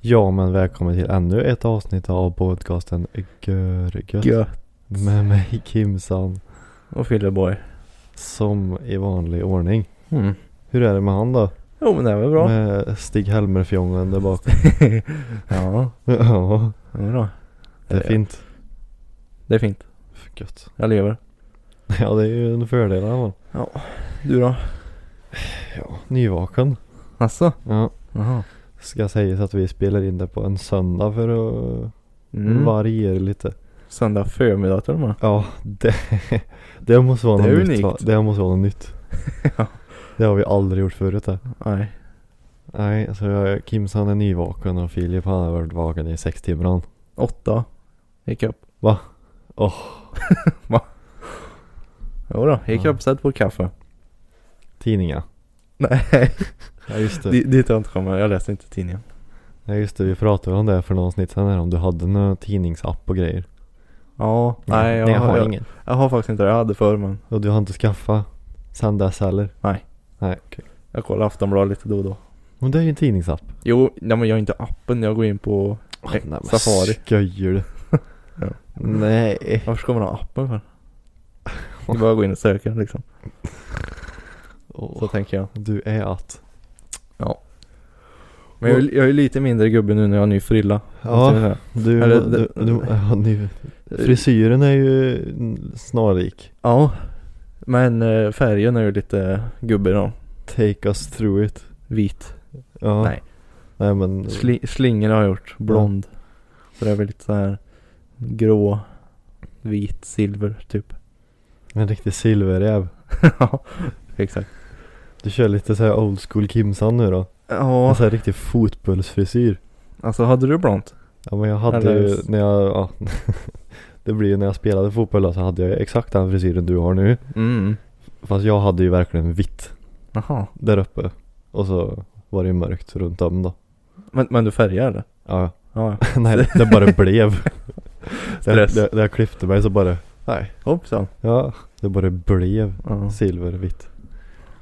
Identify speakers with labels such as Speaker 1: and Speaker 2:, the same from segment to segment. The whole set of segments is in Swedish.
Speaker 1: Ja men välkommen till ännu ett avsnitt av podcasten Görgött
Speaker 2: Gött.
Speaker 1: Med mig Kimsan
Speaker 2: Och Filleborg.
Speaker 1: som i vanlig ordning
Speaker 2: Mm.
Speaker 1: Hur är det med han då?
Speaker 2: Jo men det är väl bra.
Speaker 1: Med Stig-Helmer-fjongen där bak
Speaker 2: Ja,
Speaker 1: Ja,
Speaker 2: det är bra.
Speaker 1: det är fint
Speaker 2: Det är fint.
Speaker 1: Gött
Speaker 2: Jag lever.
Speaker 1: Ja det är ju en fördel i alla fall
Speaker 2: Du då?
Speaker 1: Ja, nyvaken
Speaker 2: Asså?
Speaker 1: Ja,
Speaker 2: Alltså? Jaha.
Speaker 1: ska sägas att vi spelar in det på en söndag för att
Speaker 2: Mm.
Speaker 1: variera lite
Speaker 2: Söndag förmiddag till och med.
Speaker 1: Ja, det, det måste vara
Speaker 2: Det är
Speaker 1: något nytt
Speaker 2: unikt.
Speaker 1: va? Det måste vara något nytt
Speaker 2: Ja.
Speaker 1: Det har vi aldrig gjort förut det
Speaker 2: Nej.
Speaker 1: Nej, så jag, Kims han är nyvaken och Filip han har varit vaken i sex timmar han.
Speaker 2: Åtta. Gick jag upp.
Speaker 1: Va? Åh.
Speaker 2: Va? Jo då, gick
Speaker 1: Ja.
Speaker 2: jag upp satt på kaffe.
Speaker 1: Tidningar.
Speaker 2: Nej,
Speaker 1: Ja just det.
Speaker 2: di- dit har jag inte kommit. Jag läste inte tidningen.
Speaker 1: Ja just det, vi pratade om det för någon snitt sen här om du hade någon tidningsapp och grejer.
Speaker 2: Ja, nej jag,
Speaker 1: Nej, jag har
Speaker 2: jag,
Speaker 1: ingen.
Speaker 2: jag har faktiskt inte det. Jag hade förr men
Speaker 1: Och du har inte skaffat sen dess heller?
Speaker 2: Nej.
Speaker 1: Nej okej.
Speaker 2: jag kollar Aftonbladet lite då och då.
Speaker 1: Men det är ju en tidningsapp.
Speaker 2: Jo, nej men jag har inte appen. Jag går in på eh,
Speaker 1: Nej, men
Speaker 2: Safari.
Speaker 1: Skojar du?
Speaker 2: Ja.
Speaker 1: Nej.
Speaker 2: Varför ska man ha appen för? Det är bara att gå in och söka liksom. Så
Speaker 1: Åh,
Speaker 2: tänker jag.
Speaker 1: du är att.
Speaker 2: Men jag, är- jag är lite mindre gubbe nu när jag har ny frilla. måste jag
Speaker 1: Ja,
Speaker 2: säga.
Speaker 1: du,
Speaker 2: Eller-
Speaker 1: du, du, ja, nu. Frisyren är ju snarlik.
Speaker 2: Ja. Men eh, färgen är ju lite gubbe då.
Speaker 1: Take us through it.
Speaker 2: Vit.
Speaker 1: Ja.
Speaker 2: Nej.
Speaker 1: Nej men.
Speaker 2: Sli, slingor har jag gjort. Blond. Så det är väl lite så här grå, vit, silver typ.
Speaker 1: En riktig silverräv.
Speaker 2: ja, exakt.
Speaker 1: Du kör lite såhär old school Kimsan nu då? En
Speaker 2: Ja,
Speaker 1: sån här riktig fotbollsfrisyr.
Speaker 2: alltså hade du blont?
Speaker 1: Ja men jag hade
Speaker 2: Eller-
Speaker 1: ju när jag, ja, Det blir ju när jag spelade fotboll då, så hade jag ju exakt den frisyren du har nu.
Speaker 2: Mm.
Speaker 1: Fast jag hade ju verkligen vitt
Speaker 2: Jaha.
Speaker 1: där uppe. Och så var det ju mörkt runt om då.
Speaker 2: Men, men du färgar eller?
Speaker 1: Ja,
Speaker 2: Ja, ja.
Speaker 1: nej det- det bara blev.
Speaker 2: Stress.
Speaker 1: När jag klippte mig så bara, nej.
Speaker 2: Hoppsan.
Speaker 1: Ja, det bara blev
Speaker 2: Ja.
Speaker 1: silvervitt.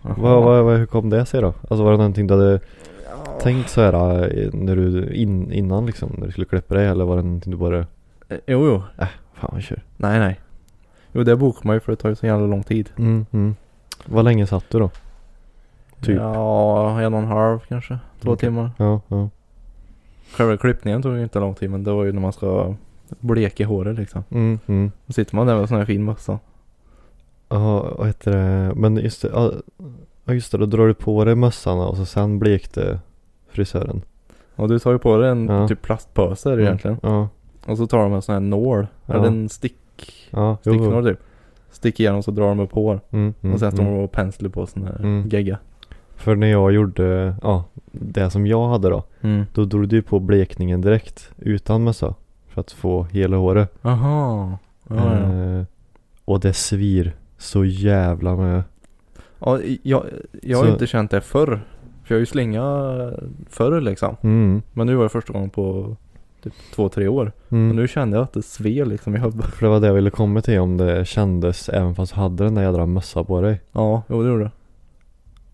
Speaker 2: Jaha.
Speaker 1: Vad, vad, vad, hur kom det sig då? Alltså var det någonting du hade tänkt så här eh, när du, in, innan liksom, när du skulle klippa dig eller var det någonting du bara,
Speaker 2: Eh, Jo, jo.
Speaker 1: fan vad kör?
Speaker 2: Nej, nej. Jo, det bokar man ju för det tar ju så jävla lång tid.
Speaker 1: Mm, mm. Vad länge satt du då? Typ.
Speaker 2: Ja, en och en halv kanske. Två
Speaker 1: Okej.
Speaker 2: timmar.
Speaker 1: Ja, ja.
Speaker 2: Själva klippningen tog ju inte lång tid men det var ju när man ska bleka håret liksom.
Speaker 1: Mm, mm.
Speaker 2: Då sitter man där med en sån här fin mössa.
Speaker 1: Ja, vad heter det? Men just det, ja, ja, just det, då drar du på dig mössan och så sen blekte frisören.
Speaker 2: Och du tar ju på dig en
Speaker 1: Ja.
Speaker 2: typ plastpåse är det egentligen.
Speaker 1: Ja,
Speaker 2: Och så tar de en sån här nål.
Speaker 1: Ja.
Speaker 2: Eller en stick,
Speaker 1: ja. jo, jo.
Speaker 2: sticknål typ. Sticker igenom så drar de upp hår.
Speaker 1: Mm, mm,
Speaker 2: och sen står
Speaker 1: mm.
Speaker 2: de och penslar på sån här
Speaker 1: Mm.
Speaker 2: gegga.
Speaker 1: För när jag gjorde, ja, det som jag hade då.
Speaker 2: Mm.
Speaker 1: Då drog du ju på blekningen direkt utan mössa. För att få hela håret.
Speaker 2: Aha. Ja, ja.
Speaker 1: Eh, och det svir så jävla med.
Speaker 2: ja jag, jag har
Speaker 1: Så-
Speaker 2: ju inte känt det förr. För jag har ju slinga förr liksom.
Speaker 1: Mm.
Speaker 2: Men nu var det första gången på typ två, tre år.
Speaker 1: Mm.
Speaker 2: Och nu kände jag att det sved liksom i huvudet.
Speaker 1: För det var det jag ville komma till om det kändes även fast du hade den där jädra mössa på dig.
Speaker 2: Ja, jo det gjorde det.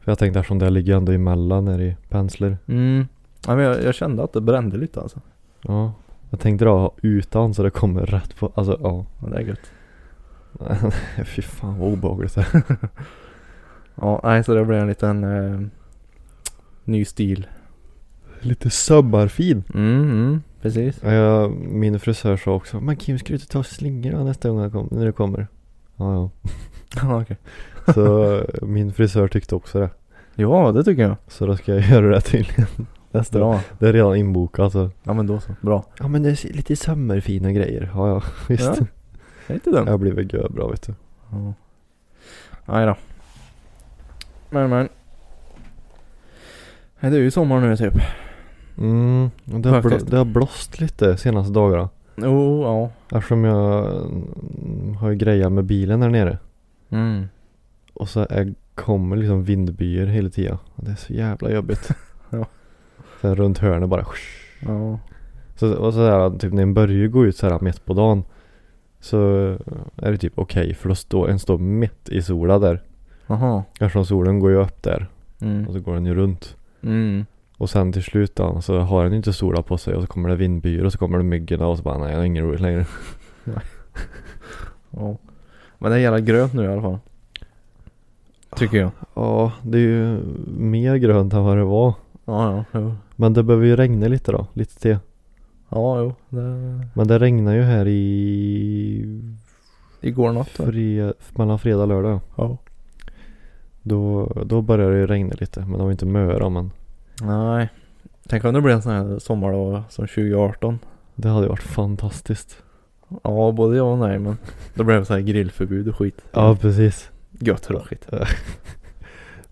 Speaker 1: För jag tänkte eftersom det ligger ändå emellan när i penslar.
Speaker 2: Mm. Ja, men jag, jag kände att det brände lite alltså.
Speaker 1: Ja. Jag tänkte dra utan så det kommer rätt på, alltså ja.
Speaker 2: Ja, det är gött.
Speaker 1: Fy fan vad obehagligt det är.
Speaker 2: Ja, nej så det blev en liten eh, ny stil.
Speaker 1: Lite sömmarfin.
Speaker 2: Mm, mm, precis.
Speaker 1: Ja, jag- min frisör sa också, men Kim ska du inte ta slingor då nästa gång jag kom, när du kommer? Ja, ja.
Speaker 2: Ja, okej.
Speaker 1: Så min frisör tyckte också det.
Speaker 2: Ja, det tycker jag.
Speaker 1: Så då ska jag göra det tydligen. Nästa gång.
Speaker 2: Bra.
Speaker 1: Det är redan inbokat så.
Speaker 2: Ja, men då så. Bra.
Speaker 1: Ja men det är lite sömmerfina grejer. Ja ja, visst.
Speaker 2: Ja, Det är inte dumt.
Speaker 1: Jag blir väl gör bra vet du.
Speaker 2: Ja. Nej då. Men, men. Nej, Det är ju sommar nu typ.
Speaker 1: Mm, och det, har blå,
Speaker 2: Faktiskt.
Speaker 1: det har blåst lite senaste dagarna.
Speaker 2: Jo, oh, ja.
Speaker 1: Eftersom jag mm, har ju grejat med bilen där nere.
Speaker 2: Mm.
Speaker 1: Och så är, kommer liksom vindbyar hela tiden. Och Det är så jävla jobbigt.
Speaker 2: Ja.
Speaker 1: Sen runt hörnet bara.
Speaker 2: Ja.
Speaker 1: Så, och så här, typ när en börjar gå ut så här mitt på dagen. Så är det typ okej för då står en står mitt i sola där.
Speaker 2: Aha.
Speaker 1: Eftersom solen går ju upp där. Och
Speaker 2: Mm.
Speaker 1: så går den ju runt.
Speaker 2: Mm.
Speaker 1: Och sen till slut då, så har den ju inte sola på sig och så kommer det vindbyar och så kommer det myggorna och så bara nej jag har ingen roligt längre.
Speaker 2: Ja. Men det är jävla grönt nu i alla fall. Tycker jag.
Speaker 1: Ja, det är ju mer grönt än vad det var.
Speaker 2: Ja, ja. Jo.
Speaker 1: Men det behöver ju regna lite då, lite till.
Speaker 2: Ja, jo. Det...
Speaker 1: Men det regnar ju här i
Speaker 2: Igår natt va?
Speaker 1: fre... mellan fredag och lördag.
Speaker 2: Ja.
Speaker 1: Då, då börjar det ju regna lite, men det var inte möra men
Speaker 2: Nej. Tänk om det blir en sån här sommar då som 2018.
Speaker 1: det hade ju varit fantastiskt.
Speaker 2: Ja, både ja och nej men. Då blev det så här grillförbud och skit.
Speaker 1: Ja, precis.
Speaker 2: Gött tråkigt.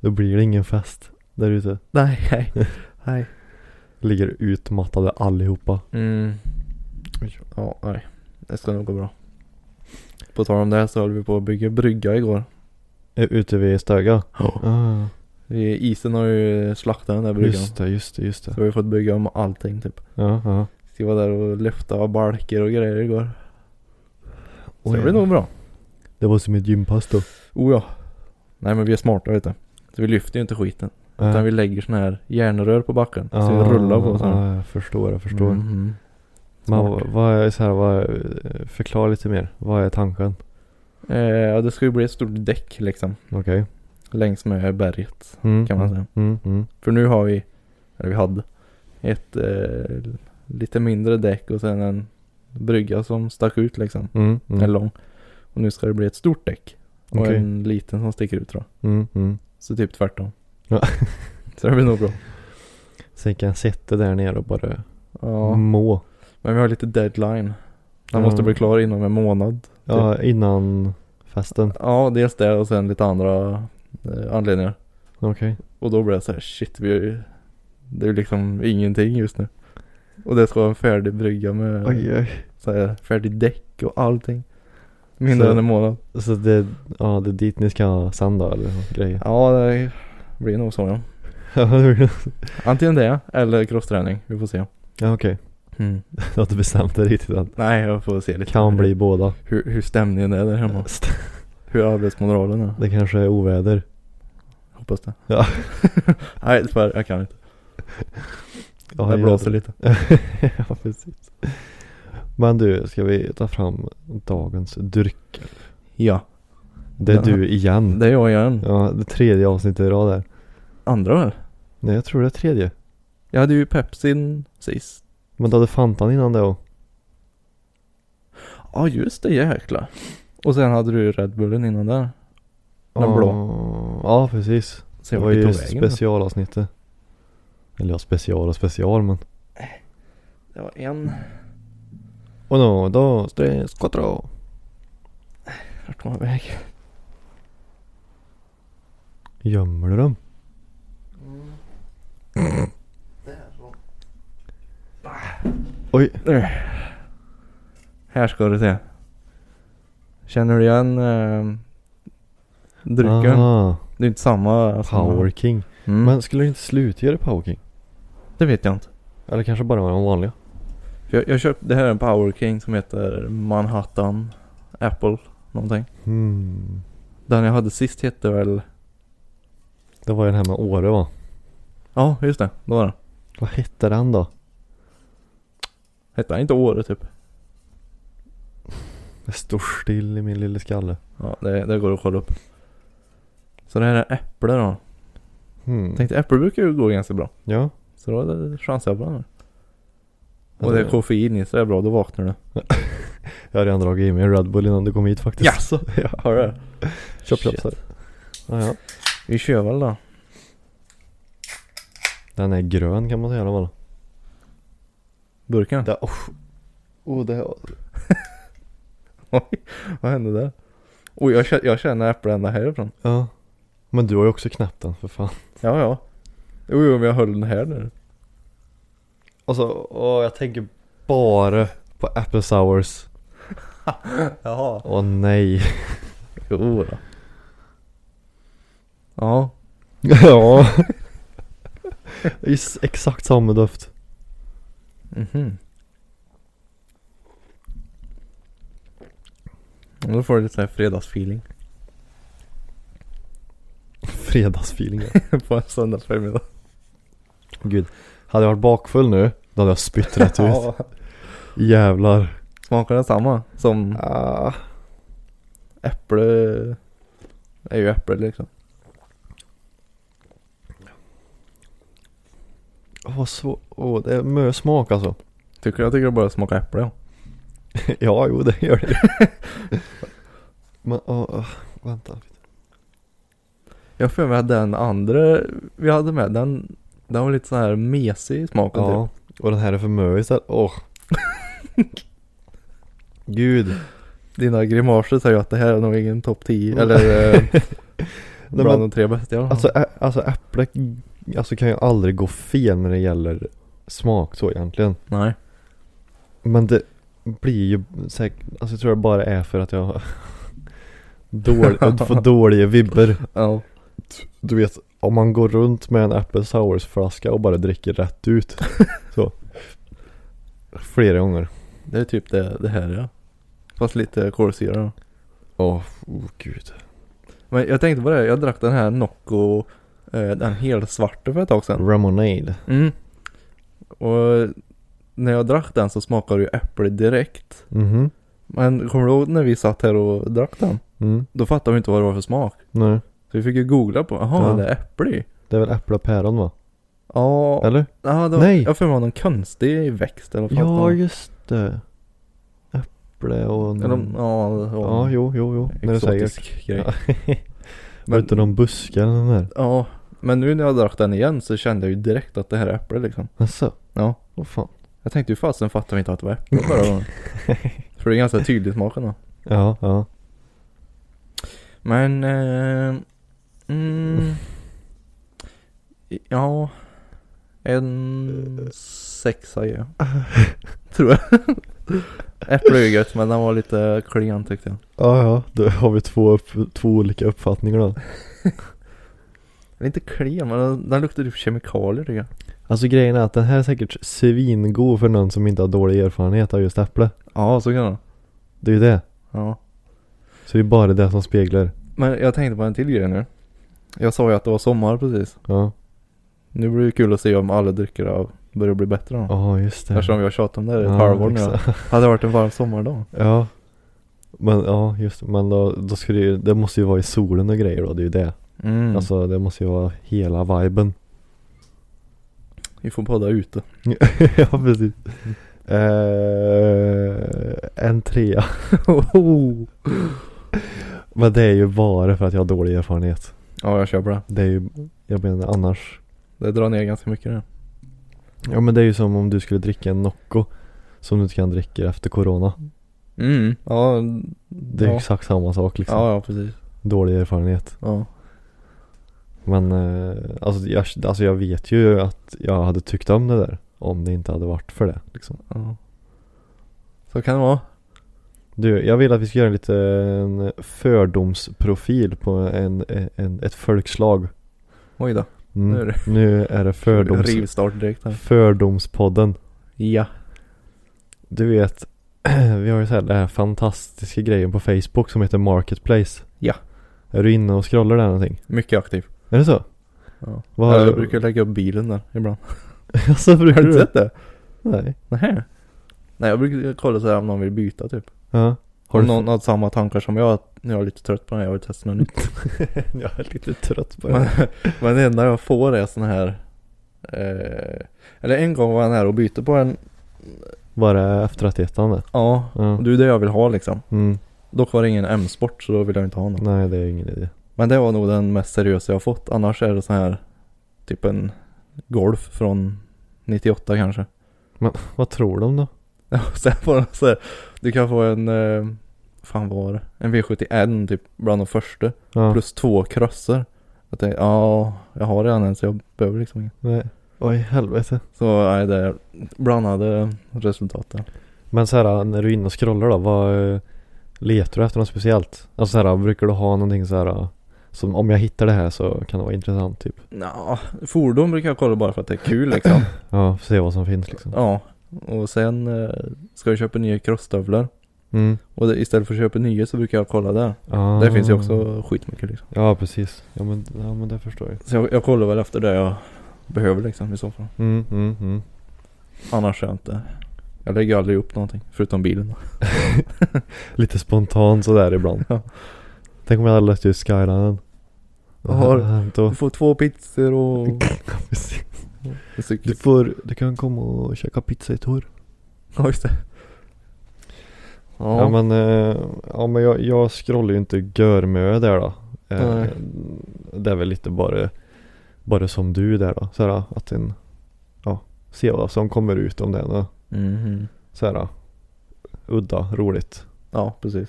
Speaker 1: Då blir det ingen fest där ute.
Speaker 2: Nej, nej. nej.
Speaker 1: Ligger utmattade allihopa.
Speaker 2: Mm. Oj. Ja, nej. Det ska nog gå bra. På tal om det här så höll vi på att bygga brygga igår.
Speaker 1: Ä- Ute vid Stöga. Ah,
Speaker 2: Vi- Isen har ju slaktat den där bryggan.
Speaker 1: just det, just det, just det.
Speaker 2: Så vi har fått bygga om allting typ.
Speaker 1: Ja, ja.
Speaker 2: Så vi var där och lyfta balkar och grejer igår. Så
Speaker 1: Oj.
Speaker 2: det blir nog bra.
Speaker 1: Det var som ett gympass då.
Speaker 2: Oh ja. Nej men vi är smarta vet du. Så vi lyfter ju inte skiten. Utan vi lägger såna här järnrör på backen. Så vi rullar på så. här.
Speaker 1: Ja, jag förstår, jag förstår.
Speaker 2: Mhm.
Speaker 1: Men
Speaker 2: Smart.
Speaker 1: vad- vad är så här, vad, förklara lite mer. Vad är tanken?
Speaker 2: Eh, ja det ska ju bli ett stort däck liksom.
Speaker 1: Okej.
Speaker 2: Längs med berget
Speaker 1: Mm,
Speaker 2: kan man
Speaker 1: mm,
Speaker 2: säga.
Speaker 1: Mm, mm.
Speaker 2: För nu har vi, eller vi hade, ett eh, lite mindre däck och sen en brygga som stack ut liksom.
Speaker 1: Mm, mm.
Speaker 2: En lång. Och nu ska det bli ett stort däck. Och
Speaker 1: Okej.
Speaker 2: en liten som sticker ut tror jag.
Speaker 1: Mm, mm.
Speaker 2: Så typ tvärtom.
Speaker 1: Ja.
Speaker 2: Så det blir nog bra.
Speaker 1: Sen kan jag sitta där nere och bara
Speaker 2: Ja,
Speaker 1: må.
Speaker 2: Mm. men vi har lite deadline.
Speaker 1: Ja.
Speaker 2: Den måste bli klar inom en månad.
Speaker 1: Ja, innan festen.
Speaker 2: Ja, dels det och sen lite andra eh, anledningar.
Speaker 1: Okej.
Speaker 2: Och då blir det så här, shit, vi är ju, det är ju liksom ingenting just nu. Och det ska vara en färdig brygga med
Speaker 1: oj.
Speaker 2: så här, färdig däck och allting. Mindre
Speaker 1: Så-
Speaker 2: än en månad.
Speaker 1: Så det, ja det är dit ni ska sen då eller vad grejer?
Speaker 2: Ja, det blir nog så ja. Antingen det eller crossträning. Vi får se.
Speaker 1: ja okej.
Speaker 2: Mm.
Speaker 1: Jag har inte bestämt det riktigt än.
Speaker 2: Nej, jag får se lite.
Speaker 1: Kan bli båda.
Speaker 2: Hur, hur stämningen är där hemma. Hur arbetsmoralen är.
Speaker 1: Det kanske är oväder.
Speaker 2: Hoppas det.
Speaker 1: Ja.
Speaker 2: Nej, tyvärr, jag kan inte.
Speaker 1: Ja,
Speaker 2: det
Speaker 1: jag-
Speaker 2: blåser lite.
Speaker 1: ja, precis. Men du, ska vi ta fram dagens dryck?
Speaker 2: Ja,
Speaker 1: Det är
Speaker 2: Ja.
Speaker 1: du igen.
Speaker 2: det är jag igen.
Speaker 1: Ja, det tredje avsnittet i rad där.
Speaker 2: Andra väl?
Speaker 1: Nej, jag tror det är tredje.
Speaker 2: Jag hade ju Pepsin sist.
Speaker 1: Men du hade Fantan innan det och
Speaker 2: Ja, just det, jäklar. Och sen hade du ju Red Bullen innan där. Den blå.
Speaker 1: Ja, precis.
Speaker 2: Så
Speaker 1: Det
Speaker 2: jag
Speaker 1: var
Speaker 2: var lite
Speaker 1: ju
Speaker 2: på vägen. då.
Speaker 1: specialavsnittet. Eller ja, special och special men.
Speaker 2: Det var en.
Speaker 1: Och no, då, tre, quattro.
Speaker 2: Vart var jag väg?
Speaker 1: Gömmer du dem? Oj,
Speaker 2: Där. Här ska du se. Känner du igen eh, drycken?
Speaker 1: aha,
Speaker 2: Det är inte samma. alltså.
Speaker 1: Power King.
Speaker 2: Mm.
Speaker 1: Men skulle du inte slutgöra Power King?
Speaker 2: Det vet jag inte.
Speaker 1: Eller kanske bara de vanliga?
Speaker 2: För jag, jag köpte, det här är en Power King som heter Manhattan Apple någonting.
Speaker 1: Hmm.
Speaker 2: Den jag hade sist hette väl,
Speaker 1: Det var ju den här med Åre va?
Speaker 2: ja just det, det var den.
Speaker 1: Vad hette den då?
Speaker 2: Hette den inte Åre typ?
Speaker 1: Det står still i min lilla skalle.
Speaker 2: Ja det, det går att kolla upp. Så det här är Äpple då.
Speaker 1: Hmm.
Speaker 2: Jag tänkte Äpple brukar ju gå ganska bra.
Speaker 1: Ja.
Speaker 2: Så då chansade jag på den. här.
Speaker 1: Ja,
Speaker 2: Och det är
Speaker 1: det-
Speaker 2: koffein i så det är bra, då vaknar du.
Speaker 1: Jag har redan dragit i mig en Red Bull innan du kom hit faktiskt.
Speaker 2: Jaså?
Speaker 1: ja.
Speaker 2: Har du det?
Speaker 1: Köp, köp,
Speaker 2: Shit.
Speaker 1: köp. Ja, ja.
Speaker 2: Vi kör väl då.
Speaker 1: Den är grön kan man säga i alla fall.
Speaker 2: Burken?
Speaker 1: Det, oh. Oh, det,
Speaker 2: Oj, vad hände där? Oj, jag känner, jag känner äpple ända härifrån.
Speaker 1: ja. Men du har ju också knäppt den för fan.
Speaker 2: Ja, ja. Jo, jo, men jag höll den här nu.
Speaker 1: Alltså, åh, jag tänker bara på apple sours.
Speaker 2: Jaha.
Speaker 1: Åh nej.
Speaker 2: Jo då. Ja.
Speaker 1: ja. Det är ju exakt samma doft.
Speaker 2: Mhm. Och Då får du lite sån här fredagsfeeling
Speaker 1: Fredagsfeeling.
Speaker 2: på en söndagsförmiddag.
Speaker 1: Gud. Hade jag varit bakfull nu, då hade jag spytt rätt ut. Jävlar.
Speaker 2: Smakar den samma som
Speaker 1: Ah.
Speaker 2: äpple? Det är ju äpple liksom.
Speaker 1: Åh, vad svårt. Åh, det är mycket smak alltså.
Speaker 2: Tycker jag tycker det bara smakar äpple ja.
Speaker 1: ja, jo det gör det ju. Men, åh, åh, vänta.
Speaker 2: Jag har för mig att den andra vi hade med den, den var lite så här mesig i smaken typ.
Speaker 1: Ja, och den här är för mö istället. Åh. Gud.
Speaker 2: typ. Dina grimaser säger ju att det här är nog ingen topp 10 eller eh,
Speaker 1: Nej, Mm.
Speaker 2: bland
Speaker 1: men-
Speaker 2: de tre bästa jag har.
Speaker 1: Alltså, ä- alltså äpple alltså, kan ju aldrig gå fel när det gäller smak så egentligen.
Speaker 2: Nej.
Speaker 1: Men det blir ju säkert, alltså jag tror det bara är för att jag dålig, jag får dåliga vibber.
Speaker 2: Ja.
Speaker 1: Du vet, om man går runt med en apple sours flaska och bara dricker rätt ut. Så. Flera gånger.
Speaker 2: Det är typ det, det här ja. Fast lite kolsyra då.
Speaker 1: Åh, oh, gud.
Speaker 2: Men jag tänkte på det, jag drack den här Nocco, eh, den helsvarta för ett tag sedan.
Speaker 1: Ramonade.
Speaker 2: Mm. Och när jag drack den så smakade det ju äpple direkt.
Speaker 1: Mhm.
Speaker 2: Men kommer du ihåg när vi satt här och drack den?
Speaker 1: Mm.
Speaker 2: Då fattade vi inte vad det var för smak.
Speaker 1: Nej.
Speaker 2: Så vi fick ju googla på, jaha
Speaker 1: Ja.
Speaker 2: det är äpple i.
Speaker 1: Det är väl äpple och päron va?
Speaker 2: Ja,
Speaker 1: Eller?
Speaker 2: aha, det var,
Speaker 1: Nej.
Speaker 2: jag har för mig det var någon konstig växt eller vad fan det var.
Speaker 1: just det. Äpple och...
Speaker 2: eller, om- ja, det var
Speaker 1: Ja,
Speaker 2: en
Speaker 1: jo, jo, jo. När du säger.
Speaker 2: exotisk
Speaker 1: Ja.
Speaker 2: grej.
Speaker 1: Var det
Speaker 2: Men-
Speaker 1: inte någon buske eller något där?
Speaker 2: Ja, men nu när jag drack den igen så kände jag ju direkt att det här är äpple liksom.
Speaker 1: Jaså?
Speaker 2: Ja.
Speaker 1: Åh Alltså. fan.
Speaker 2: Jag tänkte ju fasen fattar vi inte att det var äpple förra gången. För det är ganska tydlig smaken då.
Speaker 1: Ja, ja.
Speaker 2: Men, eh, mm, ja, en sexa ger jag. Tror jag. Äpple är ju gött, men den var lite klen tyckte jag.
Speaker 1: Ja, ja. Då har vi två, upp, två olika uppfattningar då.
Speaker 2: Den är inte klen, men den, den luktar typ kemikalier tycker jag.
Speaker 1: Alltså grejen är att den här är säkert svingod för någon som inte har dålig erfarenhet av just äpple.
Speaker 2: Ja, så kan den.
Speaker 1: Det är ju det.
Speaker 2: Ja.
Speaker 1: Så det är bara det som speglar.
Speaker 2: Men jag tänkte på en till grej nu. Jag sa ju att det var sommar precis.
Speaker 1: Ja.
Speaker 2: Nu blir det kul att se om alla drycker av- börjar bli bättre då.
Speaker 1: Ja, just det.
Speaker 2: Eftersom vi har tjatat om det här i ett
Speaker 1: Ja,
Speaker 2: halvår nu.
Speaker 1: exakt.
Speaker 2: Hade det varit en varm sommardag.
Speaker 1: Ja. Men ja, just det. Men då, då skulle det ju, det måste ju vara i solen och grejer då. Det är ju det.
Speaker 2: Mm.
Speaker 1: Alltså det måste ju vara hela viben.
Speaker 2: vi får podda ute.
Speaker 1: ja precis. Eh, en trea. Men det är ju bara för att jag har dålig erfarenhet.
Speaker 2: Ja, jag köper det.
Speaker 1: Det är ju, jag menar annars.
Speaker 2: Det drar ner ganska mycket det.
Speaker 1: Ja men det är ju som om du skulle dricka en Nocco. Som du inte kan dricka efter Corona.
Speaker 2: Mm. Ja,
Speaker 1: Det är ju
Speaker 2: ja.
Speaker 1: exakt samma sak liksom.
Speaker 2: ja, ja precis.
Speaker 1: Dålig erfarenhet.
Speaker 2: Ja.
Speaker 1: Men eh, alltså, jag, alltså jag vet ju att jag hade tyckt om det där. Om det inte hade varit för det liksom.
Speaker 2: ja. Så kan det vara.
Speaker 1: Du, jag vill att vi ska göra en liten fördomsprofil på en, en, ett folkslag.
Speaker 2: Oj då.
Speaker 1: Mm.
Speaker 2: Nu är det-
Speaker 1: Nu är det fördoms,
Speaker 2: Rivstart direkt här.
Speaker 1: fördomspodden.
Speaker 2: Ja.
Speaker 1: Du vet, vi har ju så här den här fantastiska grejen på Facebook som heter Marketplace.
Speaker 2: Ja.
Speaker 1: Är du inne och scrollar där någonting?
Speaker 2: Mycket aktiv.
Speaker 1: Är det så?
Speaker 2: Ja.
Speaker 1: Vad-
Speaker 2: jag brukar lägga upp bilen där ibland.
Speaker 1: alltså brukar
Speaker 2: Har du
Speaker 1: du
Speaker 2: sett det?
Speaker 1: Nej.
Speaker 2: Nej. Nej, jag brukar kolla så här om någon vill byta typ.
Speaker 1: Ja.
Speaker 2: Har
Speaker 1: Har
Speaker 2: du
Speaker 1: du
Speaker 2: någon har samma tankar som jag? Att jag är lite trött på den här, jag vill testa något nytt.
Speaker 1: jag är lite trött på
Speaker 2: men,
Speaker 1: det.
Speaker 2: men det enda jag får är sån här eh, Eller en gång var jag nära och bytte på en
Speaker 1: Bara efter att ettan där.
Speaker 2: Ja,
Speaker 1: Ja.
Speaker 2: du det är det jag vill ha liksom.
Speaker 1: Mm.
Speaker 2: Dock var det ingen M-sport så då vill jag inte ha någon.
Speaker 1: Nej, det är ingen idé.
Speaker 2: Men det var nog den mest seriösa jag fått. Annars är det så här typ en Golf från 98 kanske.
Speaker 1: Vad tror de då?
Speaker 2: Ja, Sen var det så här, du kan få en, eh, fan vad var det? En V71 typ bland de första.
Speaker 1: Ja.
Speaker 2: Plus två krosser. Jag tänkte, ja, jag har redan en så jag behöver liksom ingen.
Speaker 1: Nej. Oj, helvete.
Speaker 2: Så nej, det är blandade resultat där.
Speaker 1: Men så här, när du är inne och scrollar då, vad eh, letar du efter något speciellt? Alltså så här, brukar du ha någonting så här eh, som om jag hittar det här så kan det vara intressant typ?
Speaker 2: Nja, fordon brukar jag kolla bara för att det är kul liksom.
Speaker 1: Ja, se vad som finns liksom.
Speaker 2: Ja, och sen eh, ska jag köpa nya crossstövlar.
Speaker 1: Mm.
Speaker 2: Och det, istället för att köpa nya så brukar jag kolla där.
Speaker 1: Ah.
Speaker 2: Där finns ju också skitmycket liksom.
Speaker 1: Ja, precis. Ja men, ja, men det förstår jag.
Speaker 2: Så jag, jag kollar väl efter det jag behöver liksom i så fall.
Speaker 1: Mm, mm, mm.
Speaker 2: Annars är jag inte. Jag lägger ju aldrig upp någonting, förutom bilen.
Speaker 1: Lite spontant sådär ibland.
Speaker 2: Ja.
Speaker 1: Tänk om jag hade läst just Skylinen. Vad
Speaker 2: Har-
Speaker 1: hade hänt då?
Speaker 2: Du får två pizzor och
Speaker 1: Precis.
Speaker 2: en cykel.
Speaker 1: Du får, du kan komma och käka pizza i Tor.
Speaker 2: Ja just det.
Speaker 1: Ja.
Speaker 2: Ja,
Speaker 1: men, eh, ja, men jag, jag scrollar ju inte görmö där då. Eh,
Speaker 2: Nej.
Speaker 1: Det är väl lite bara, bara som du där då. Så här, att en, ja, se vad som kommer ut om det är något
Speaker 2: Mhm.
Speaker 1: så här udda, roligt.
Speaker 2: ja precis.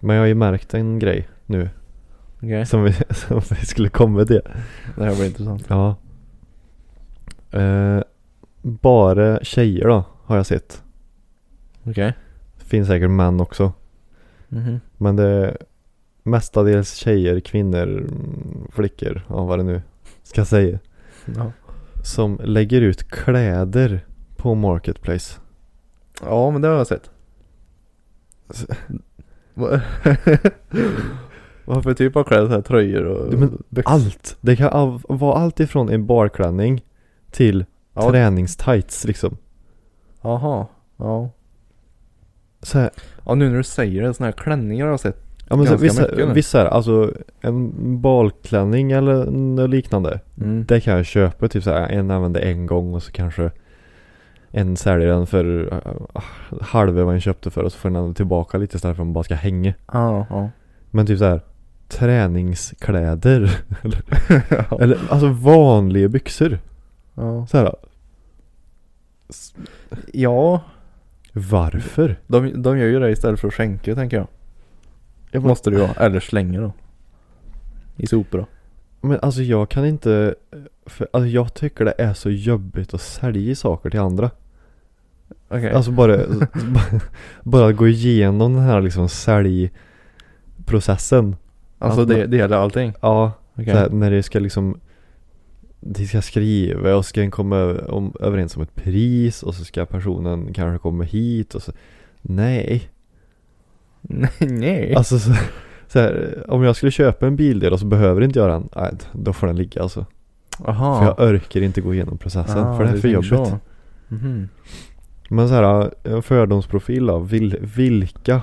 Speaker 1: Men jag har ju märkt en grej nu
Speaker 2: Okej.
Speaker 1: som vi, som vi skulle komma till.
Speaker 2: Det här blir intressant.
Speaker 1: Ja. Eh, bara tjejer då, har jag sett.
Speaker 2: Okej.
Speaker 1: Finns säkert män också.
Speaker 2: Mhm.
Speaker 1: Men det är mestadels tjejer, kvinnor, mm, flickor, ja vad det nu ska säga.
Speaker 2: Ja.
Speaker 1: Som lägger ut kläder på Marketplace.
Speaker 2: ja men det har jag sett.
Speaker 1: S-
Speaker 2: Va- Vad för typ av kläder? Så här, tröjor och
Speaker 1: Ja, men
Speaker 2: byxor?
Speaker 1: Allt! Det kan av, vara allt ifrån en barklänning till
Speaker 2: Ja.
Speaker 1: träningstights liksom.
Speaker 2: Jaha. Ja.
Speaker 1: Så här,
Speaker 2: Ja nu när du säger det, såna här klänningar har jag sett.
Speaker 1: ja men så,
Speaker 2: Ganska
Speaker 1: vissa,
Speaker 2: mycket nu.
Speaker 1: vissa är alltså en balklänning eller något liknande.
Speaker 2: Mm.
Speaker 1: Det kan jag köpa, typ såhär, en använder en gång och så kanske en säljer den för äh, halva vad en köpte för och så får den andra tillbaka lite istället för att man bara ska hänga.
Speaker 2: Ja, ja.
Speaker 1: Men typ såhär träningskläder.
Speaker 2: Ja.
Speaker 1: Eller alltså vanliga byxor.
Speaker 2: ja.
Speaker 1: Såhär,
Speaker 2: ja
Speaker 1: varför?
Speaker 2: de, de gör ju det istället för att skänka tänker jag.
Speaker 1: Jag bara,
Speaker 2: Måste det ju vara. Eller slänga då. I sopor då.
Speaker 1: men alltså jag kan inte, för, alltså jag tycker det är så jobbigt att sälja saker till andra.
Speaker 2: Okej.
Speaker 1: Alltså bara, bara gå igenom den här liksom säljprocessen.
Speaker 2: Alltså
Speaker 1: Att
Speaker 2: det,
Speaker 1: man-
Speaker 2: det gäller allting?
Speaker 1: Ja,
Speaker 2: Okej.
Speaker 1: Såhär, när det ska liksom De ska skriva och ska komma ö- om, överens om ett pris och så ska personen kanske komma hit och så Nej,
Speaker 2: Nej, nej.
Speaker 1: alltså så, såhär, om jag skulle köpa en bildel och så behöver inte jag den, nej, då får den ligga alltså. För jag orkar inte gå igenom
Speaker 2: alltså,
Speaker 1: processen,
Speaker 2: Ah,
Speaker 1: för det är för jobbigt.
Speaker 2: Mhm.
Speaker 1: Men så här, en fördomsprofil då, vil, vilka?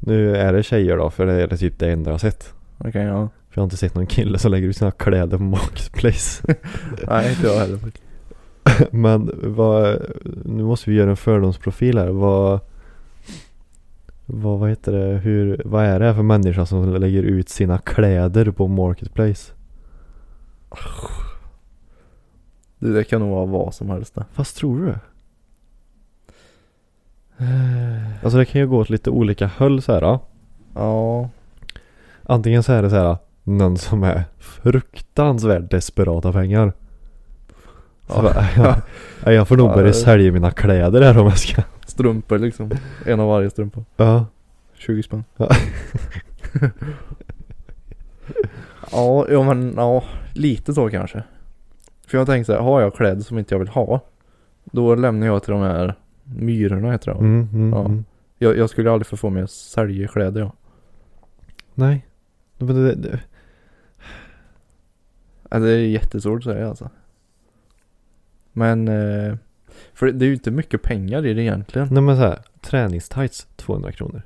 Speaker 1: Nu är det tjejer då, för det är typ det enda jag har sett.
Speaker 2: Okej, ja.
Speaker 1: För jag har inte sett någon kille som lägger ut sina kläder på Marketplace.
Speaker 2: Nej, inte jag heller.
Speaker 1: Men vad, nu måste vi göra en fördomsprofil här. Vad, vad, vad heter det, hur, vad är det här för människa som lägger ut sina kläder på Marketplace?
Speaker 2: Du, det kan nog vara vad som helst det.
Speaker 1: Fast tror du det? Alltså det kan ju gå åt lite olika håll så här. ja.
Speaker 2: Ja.
Speaker 1: Antingen så är det så här någon som är fruktansvärt desperat av pengar. Så
Speaker 2: Ja.
Speaker 1: bara, jag, jag, får nog
Speaker 2: Ja,
Speaker 1: börja
Speaker 2: det-
Speaker 1: sälja mina kläder här om jag ska.
Speaker 2: Strumpor liksom. En av varje strumpa.
Speaker 1: Ja.
Speaker 2: 20 spänn.
Speaker 1: Ja.
Speaker 2: ja, ja men ja. Lite så kanske. För jag tänker så här, har jag kläder som inte jag vill ha. Då lämnar jag till de här myrorna heter det. va?
Speaker 1: Mm, mm,
Speaker 2: Ja.
Speaker 1: mm.
Speaker 2: Jag, jag skulle aldrig få för mig att sälja kläder jag.
Speaker 1: Nej. Men det, det,
Speaker 2: Ja, det är jättesvårt att säga alltså. Men, eh, för det är ju inte mycket pengar i det egentligen.
Speaker 1: nej men såhär, träningstights 200 kronor.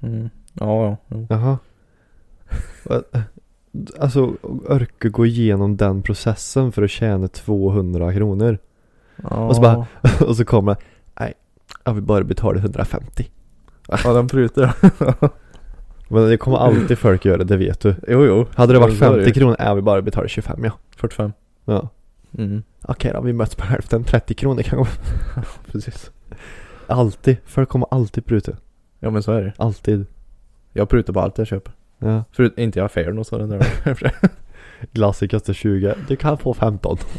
Speaker 2: Mm. Ja, ja. jo.
Speaker 1: Jaha. alltså, orka gå igenom den processen för att tjäna 200 kronor.
Speaker 2: ja.
Speaker 1: Och så bara- Och så kommer det, nej, jag vill bara betala 150.
Speaker 2: Ja, den prutar.
Speaker 1: Men det kommer alltid folk göra, det vet du.
Speaker 2: jo, jo.
Speaker 1: Hade det varit
Speaker 2: Ja, så är det ju.
Speaker 1: 50 kronor, nej, jag vill bara betala 25 ja.
Speaker 2: 45.
Speaker 1: ja.
Speaker 2: Mm.
Speaker 1: Okej då, vi möts på hälften, 30 kronor kan gå.
Speaker 2: Precis.
Speaker 1: Alltid, folk kommer alltid pruta.
Speaker 2: Ja, men så är det
Speaker 1: Alltid.
Speaker 2: Jag prutar på allt jag köper.
Speaker 1: Ja.
Speaker 2: Förut, inte i affären och så den där.
Speaker 1: Lasse kostar 20, du kan få 15.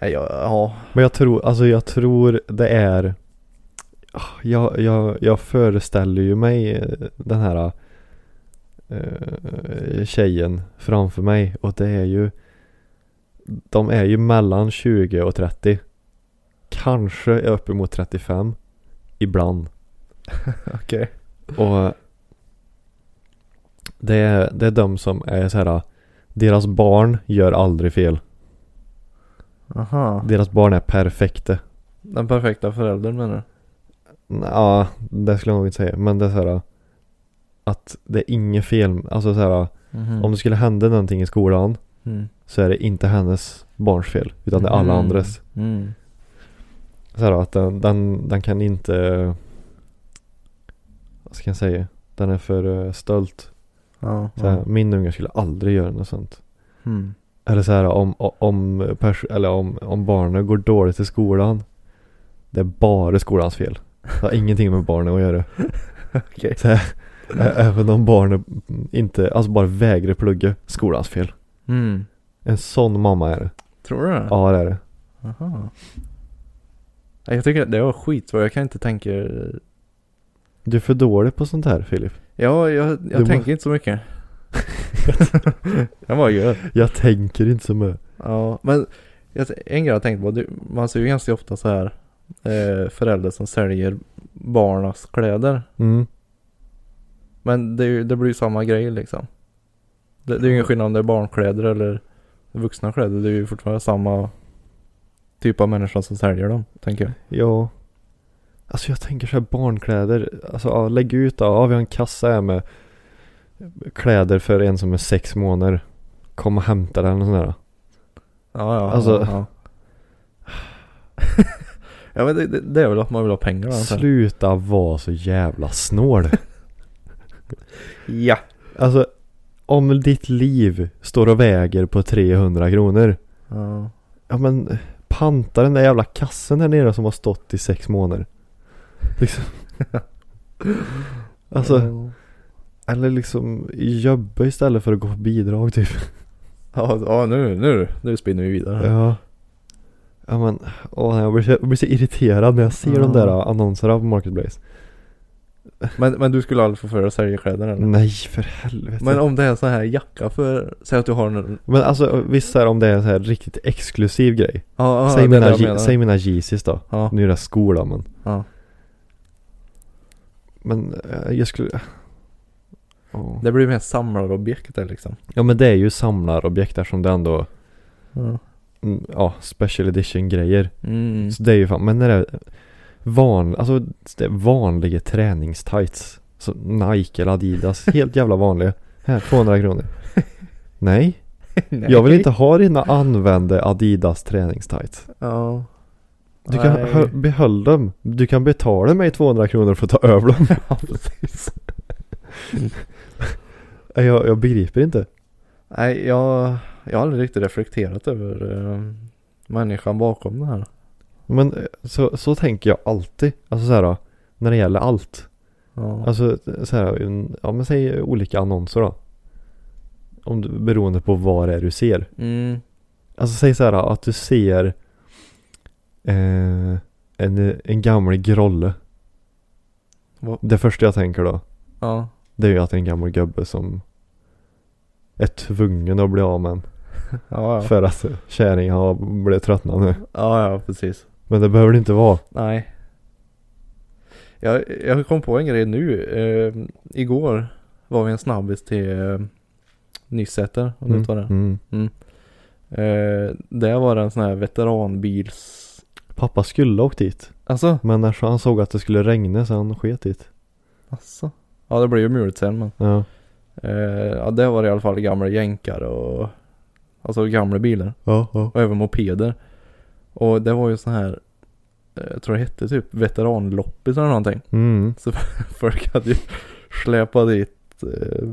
Speaker 2: Nej, jag, ja.
Speaker 1: Men jag tror, alltså jag tror det är ah, Jag, jag, jag föreställer ju mig eh, den här eh, tjejen framför mig och det är ju De är ju mellan 20 och 30 Kanske uppemot 35 Ibland
Speaker 2: Okej.
Speaker 1: och det är, det är de som är så här Deras barn gör aldrig fel
Speaker 2: Aha.
Speaker 1: Deras barn är perfekta
Speaker 2: Den perfekta föräldern menar du?
Speaker 1: Ja, det skulle jag nog inte säga. Men det är så här att det är inget fel. Alltså så här,
Speaker 2: Mhm.
Speaker 1: om det skulle hända någonting i skolan
Speaker 2: Mm.
Speaker 1: så är det inte hennes barns fel. Utan det är alla
Speaker 2: Mm.
Speaker 1: andres.
Speaker 2: Mm.
Speaker 1: Så här, att den, den, den kan inte, vad ska jag säga, den är för eh, stölt.
Speaker 2: Ja.
Speaker 1: Så här,
Speaker 2: ja.
Speaker 1: Min unge skulle aldrig göra något sånt.
Speaker 2: Mm.
Speaker 1: Eller så här om, om, pers- eller om, om barnen går dåligt i skolan. Det är bara skolans fel. Det har ingenting med barnen att göra.
Speaker 2: Okej.
Speaker 1: Så här, ä- även om barnen inte, alltså bara vägrar plugga, skolans fel.
Speaker 2: Mm.
Speaker 1: En sån mamma är det.
Speaker 2: Tror du det?
Speaker 1: Ja det är det.
Speaker 2: Aha. Nej, Jag tycker att det var skitsvårt. Jag kan inte tänka.
Speaker 1: Du är för dålig på sånt här Filip.
Speaker 2: Ja, jag, jag
Speaker 1: må-
Speaker 2: tänker inte så mycket. jag bara gör.
Speaker 1: Jag tänker inte så mycket.
Speaker 2: Ja, men jag, en grej jag tänkte på, det- man ser ju ganska ofta så här eh, föräldrar som säljer barnas kläder.
Speaker 1: Mm.
Speaker 2: Men det, är ju- det blir ju samma grej liksom. Det, det är ju ingen skillnad om det är barnkläder eller vuxna kläder. Det är ju fortfarande samma typ av människa som säljer dem, tänker jag.
Speaker 1: Ja. Alltså jag tänker så här barnkläder. Alltså ja, lägg ut då. Ja vi har en kassa här med kläder för en som är sex månader. Kom och hämta den och sådär.
Speaker 2: Ja, ja.
Speaker 1: Alltså-
Speaker 2: Ja, ja men det, det, det är väl att man vill ha pengar antar jag.
Speaker 1: Sluta vara så jävla snål.
Speaker 2: Ja.
Speaker 1: Alltså om ditt liv står och väger på 300 kronor.
Speaker 2: Ja.
Speaker 1: Ja men panta den där jävla kassen här nere som har stått i sex månader. Liksom. alltså, eller liksom jobba istället för att gå på bidrag typ.
Speaker 2: Ja, ja nu, nu, nu spinner vi vidare. här.
Speaker 1: Ja. Ja men, åh, jag, blir så, jag blir så irriterad när jag ser de där
Speaker 2: Ja.
Speaker 1: annonserna på Marketplace.
Speaker 2: Men, men du skulle aldrig få för dig att sälja kläder eller?
Speaker 1: Nej för helvete.
Speaker 2: Mm. Men om det är så här jacka för, säg att du har en
Speaker 1: men alltså visst är om det är en så här riktigt exklusiv grej.
Speaker 2: Ja, ja,
Speaker 1: säg,
Speaker 2: det
Speaker 1: mina,
Speaker 2: är det jag
Speaker 1: Je-
Speaker 2: menar.
Speaker 1: säg mina Yeezys då.
Speaker 2: Ja,
Speaker 1: Nu är det skola men.
Speaker 2: ja.
Speaker 1: Men eh, jag skulle... Åh.
Speaker 2: Det blir mer samlarobjekt där liksom.
Speaker 1: Ja men det är ju samlarobjekt eftersom det ändå,
Speaker 2: Ja.
Speaker 1: mm, ja, special edition grejer.
Speaker 2: Mm.
Speaker 1: Så det är ju fan, men när det är van, alltså det är vanliga träningstights. Så Nike eller Adidas, helt jävla vanliga. Här, 200 kronor. Nej, jag vill inte ha dina använda Adidas träningstights.
Speaker 2: Ja.
Speaker 1: Du kan
Speaker 2: Nej.
Speaker 1: hö- behåll dem. Du kan betala mig 200 kronor för att ta över dem.
Speaker 2: Ja, precis.
Speaker 1: Nej, Jag, jag begriper inte.
Speaker 2: Nej, jag, jag har aldrig riktigt reflekterat över eh, människan bakom det här.
Speaker 1: Men eh, så, så tänker jag alltid. Alltså så här, då, när det gäller allt.
Speaker 2: Ja.
Speaker 1: Alltså så här, en- ja men säg olika annonser då. Om du, beroende på vad det är du ser.
Speaker 2: Mm.
Speaker 1: Alltså säg så här att du ser eh, en, en gammal grolle.
Speaker 2: Vad-
Speaker 1: Det första jag tänker då,
Speaker 2: Ja.
Speaker 1: det är ju att det är en gammal gubbe som är tvungen att bli av med en.
Speaker 2: Ja, ja.
Speaker 1: För att kärringen har blivit tröttnad nu.
Speaker 2: ja, ja, precis.
Speaker 1: Men det behöver det inte vara.
Speaker 2: Nej. Jag, jag kom på en grej nu. Eh, igår var vi en snabbis till eh, Nysäter, om du tar det.
Speaker 1: Mm.
Speaker 2: Eh, där var det en sån här veteranbils...
Speaker 1: Pappa skulle ha åkt dit.
Speaker 2: Alltså?
Speaker 1: Men när han såg att det skulle regna så han sket dit.
Speaker 2: Alltså? Ja det blev ju mulet sen men.
Speaker 1: Ja.
Speaker 2: Eh, ja det var i alla fall gamla jänkar och alltså gamla bilar
Speaker 1: Ja, ja.
Speaker 2: och även mopeder. Och det var ju sån här, eh, jag tror det hette typ veteranloppis eller någonting.
Speaker 1: Mm.
Speaker 2: Folk hade ju släpat dit eh,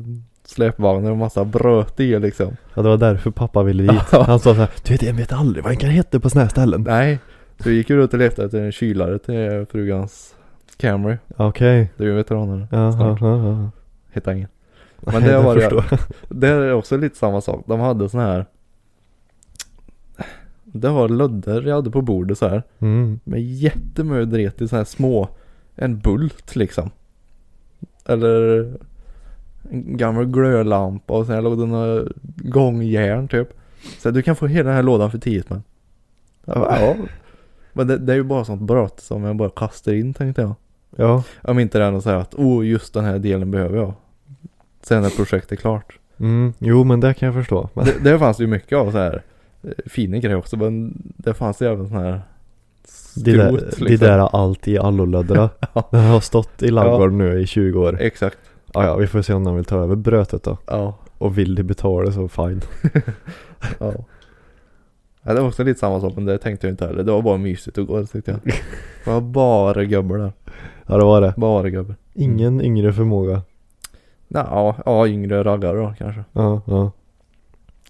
Speaker 2: släpvagnar och massa bröt i liksom.
Speaker 1: Ja det var därför pappa ville dit. Han sa såhär, du vet jag vet aldrig vad en kan heta på såna här ställen.
Speaker 2: Nej, så vi gick ju ut och letade efter en kylare till frugans Camry.
Speaker 1: Okej.
Speaker 2: Det är ju veteraner,
Speaker 1: Ja, ja, ja, ja.
Speaker 2: hittade ingen. Men
Speaker 1: Nej,
Speaker 2: det var det.
Speaker 1: förstår jag.
Speaker 2: Det är också lite samma sak. De hade såna här Det var lödder jag hade på bordet så här.
Speaker 1: Mm.
Speaker 2: Med jättemycket dret i så här små En bult liksom Eller En gammal glödlampa och sen här låg det några gångjärn typ Så här, du kan få hela den här lådan för 10 men Ja Men det, det är ju bara sånt brott som jag bara kastar in tänkte jag
Speaker 1: Ja.
Speaker 2: Om inte det är något så här att oh just den här delen behöver jag Sen när projektet är klart
Speaker 1: Mm. Jo men det kan jag förstå. Men,
Speaker 2: det, det fanns ju mycket av så här eh, fina grejer också men det fanns ju även sån här skrot
Speaker 1: de, där,
Speaker 2: liksom.
Speaker 1: de där allt i allolödra.
Speaker 2: Ja.
Speaker 1: Den har stått i ladugården nu i 20 år.
Speaker 2: Exakt.
Speaker 1: Ja, ja, vi får se om de vill ta över brötet då.
Speaker 2: Ja.
Speaker 1: Och vill de betala så fine.
Speaker 2: ja. ja. Det var också lite samma sak men det tänkte jag inte heller. Det var bara mysigt att gå tyckte jag. Det var bara gubbar där.
Speaker 1: Ja det var det.
Speaker 2: Bara gubbar. Mm.
Speaker 1: Ingen yngre förmåga.
Speaker 2: Nå, Ja, ja yngre raggare då kanske.
Speaker 1: Ja, ja.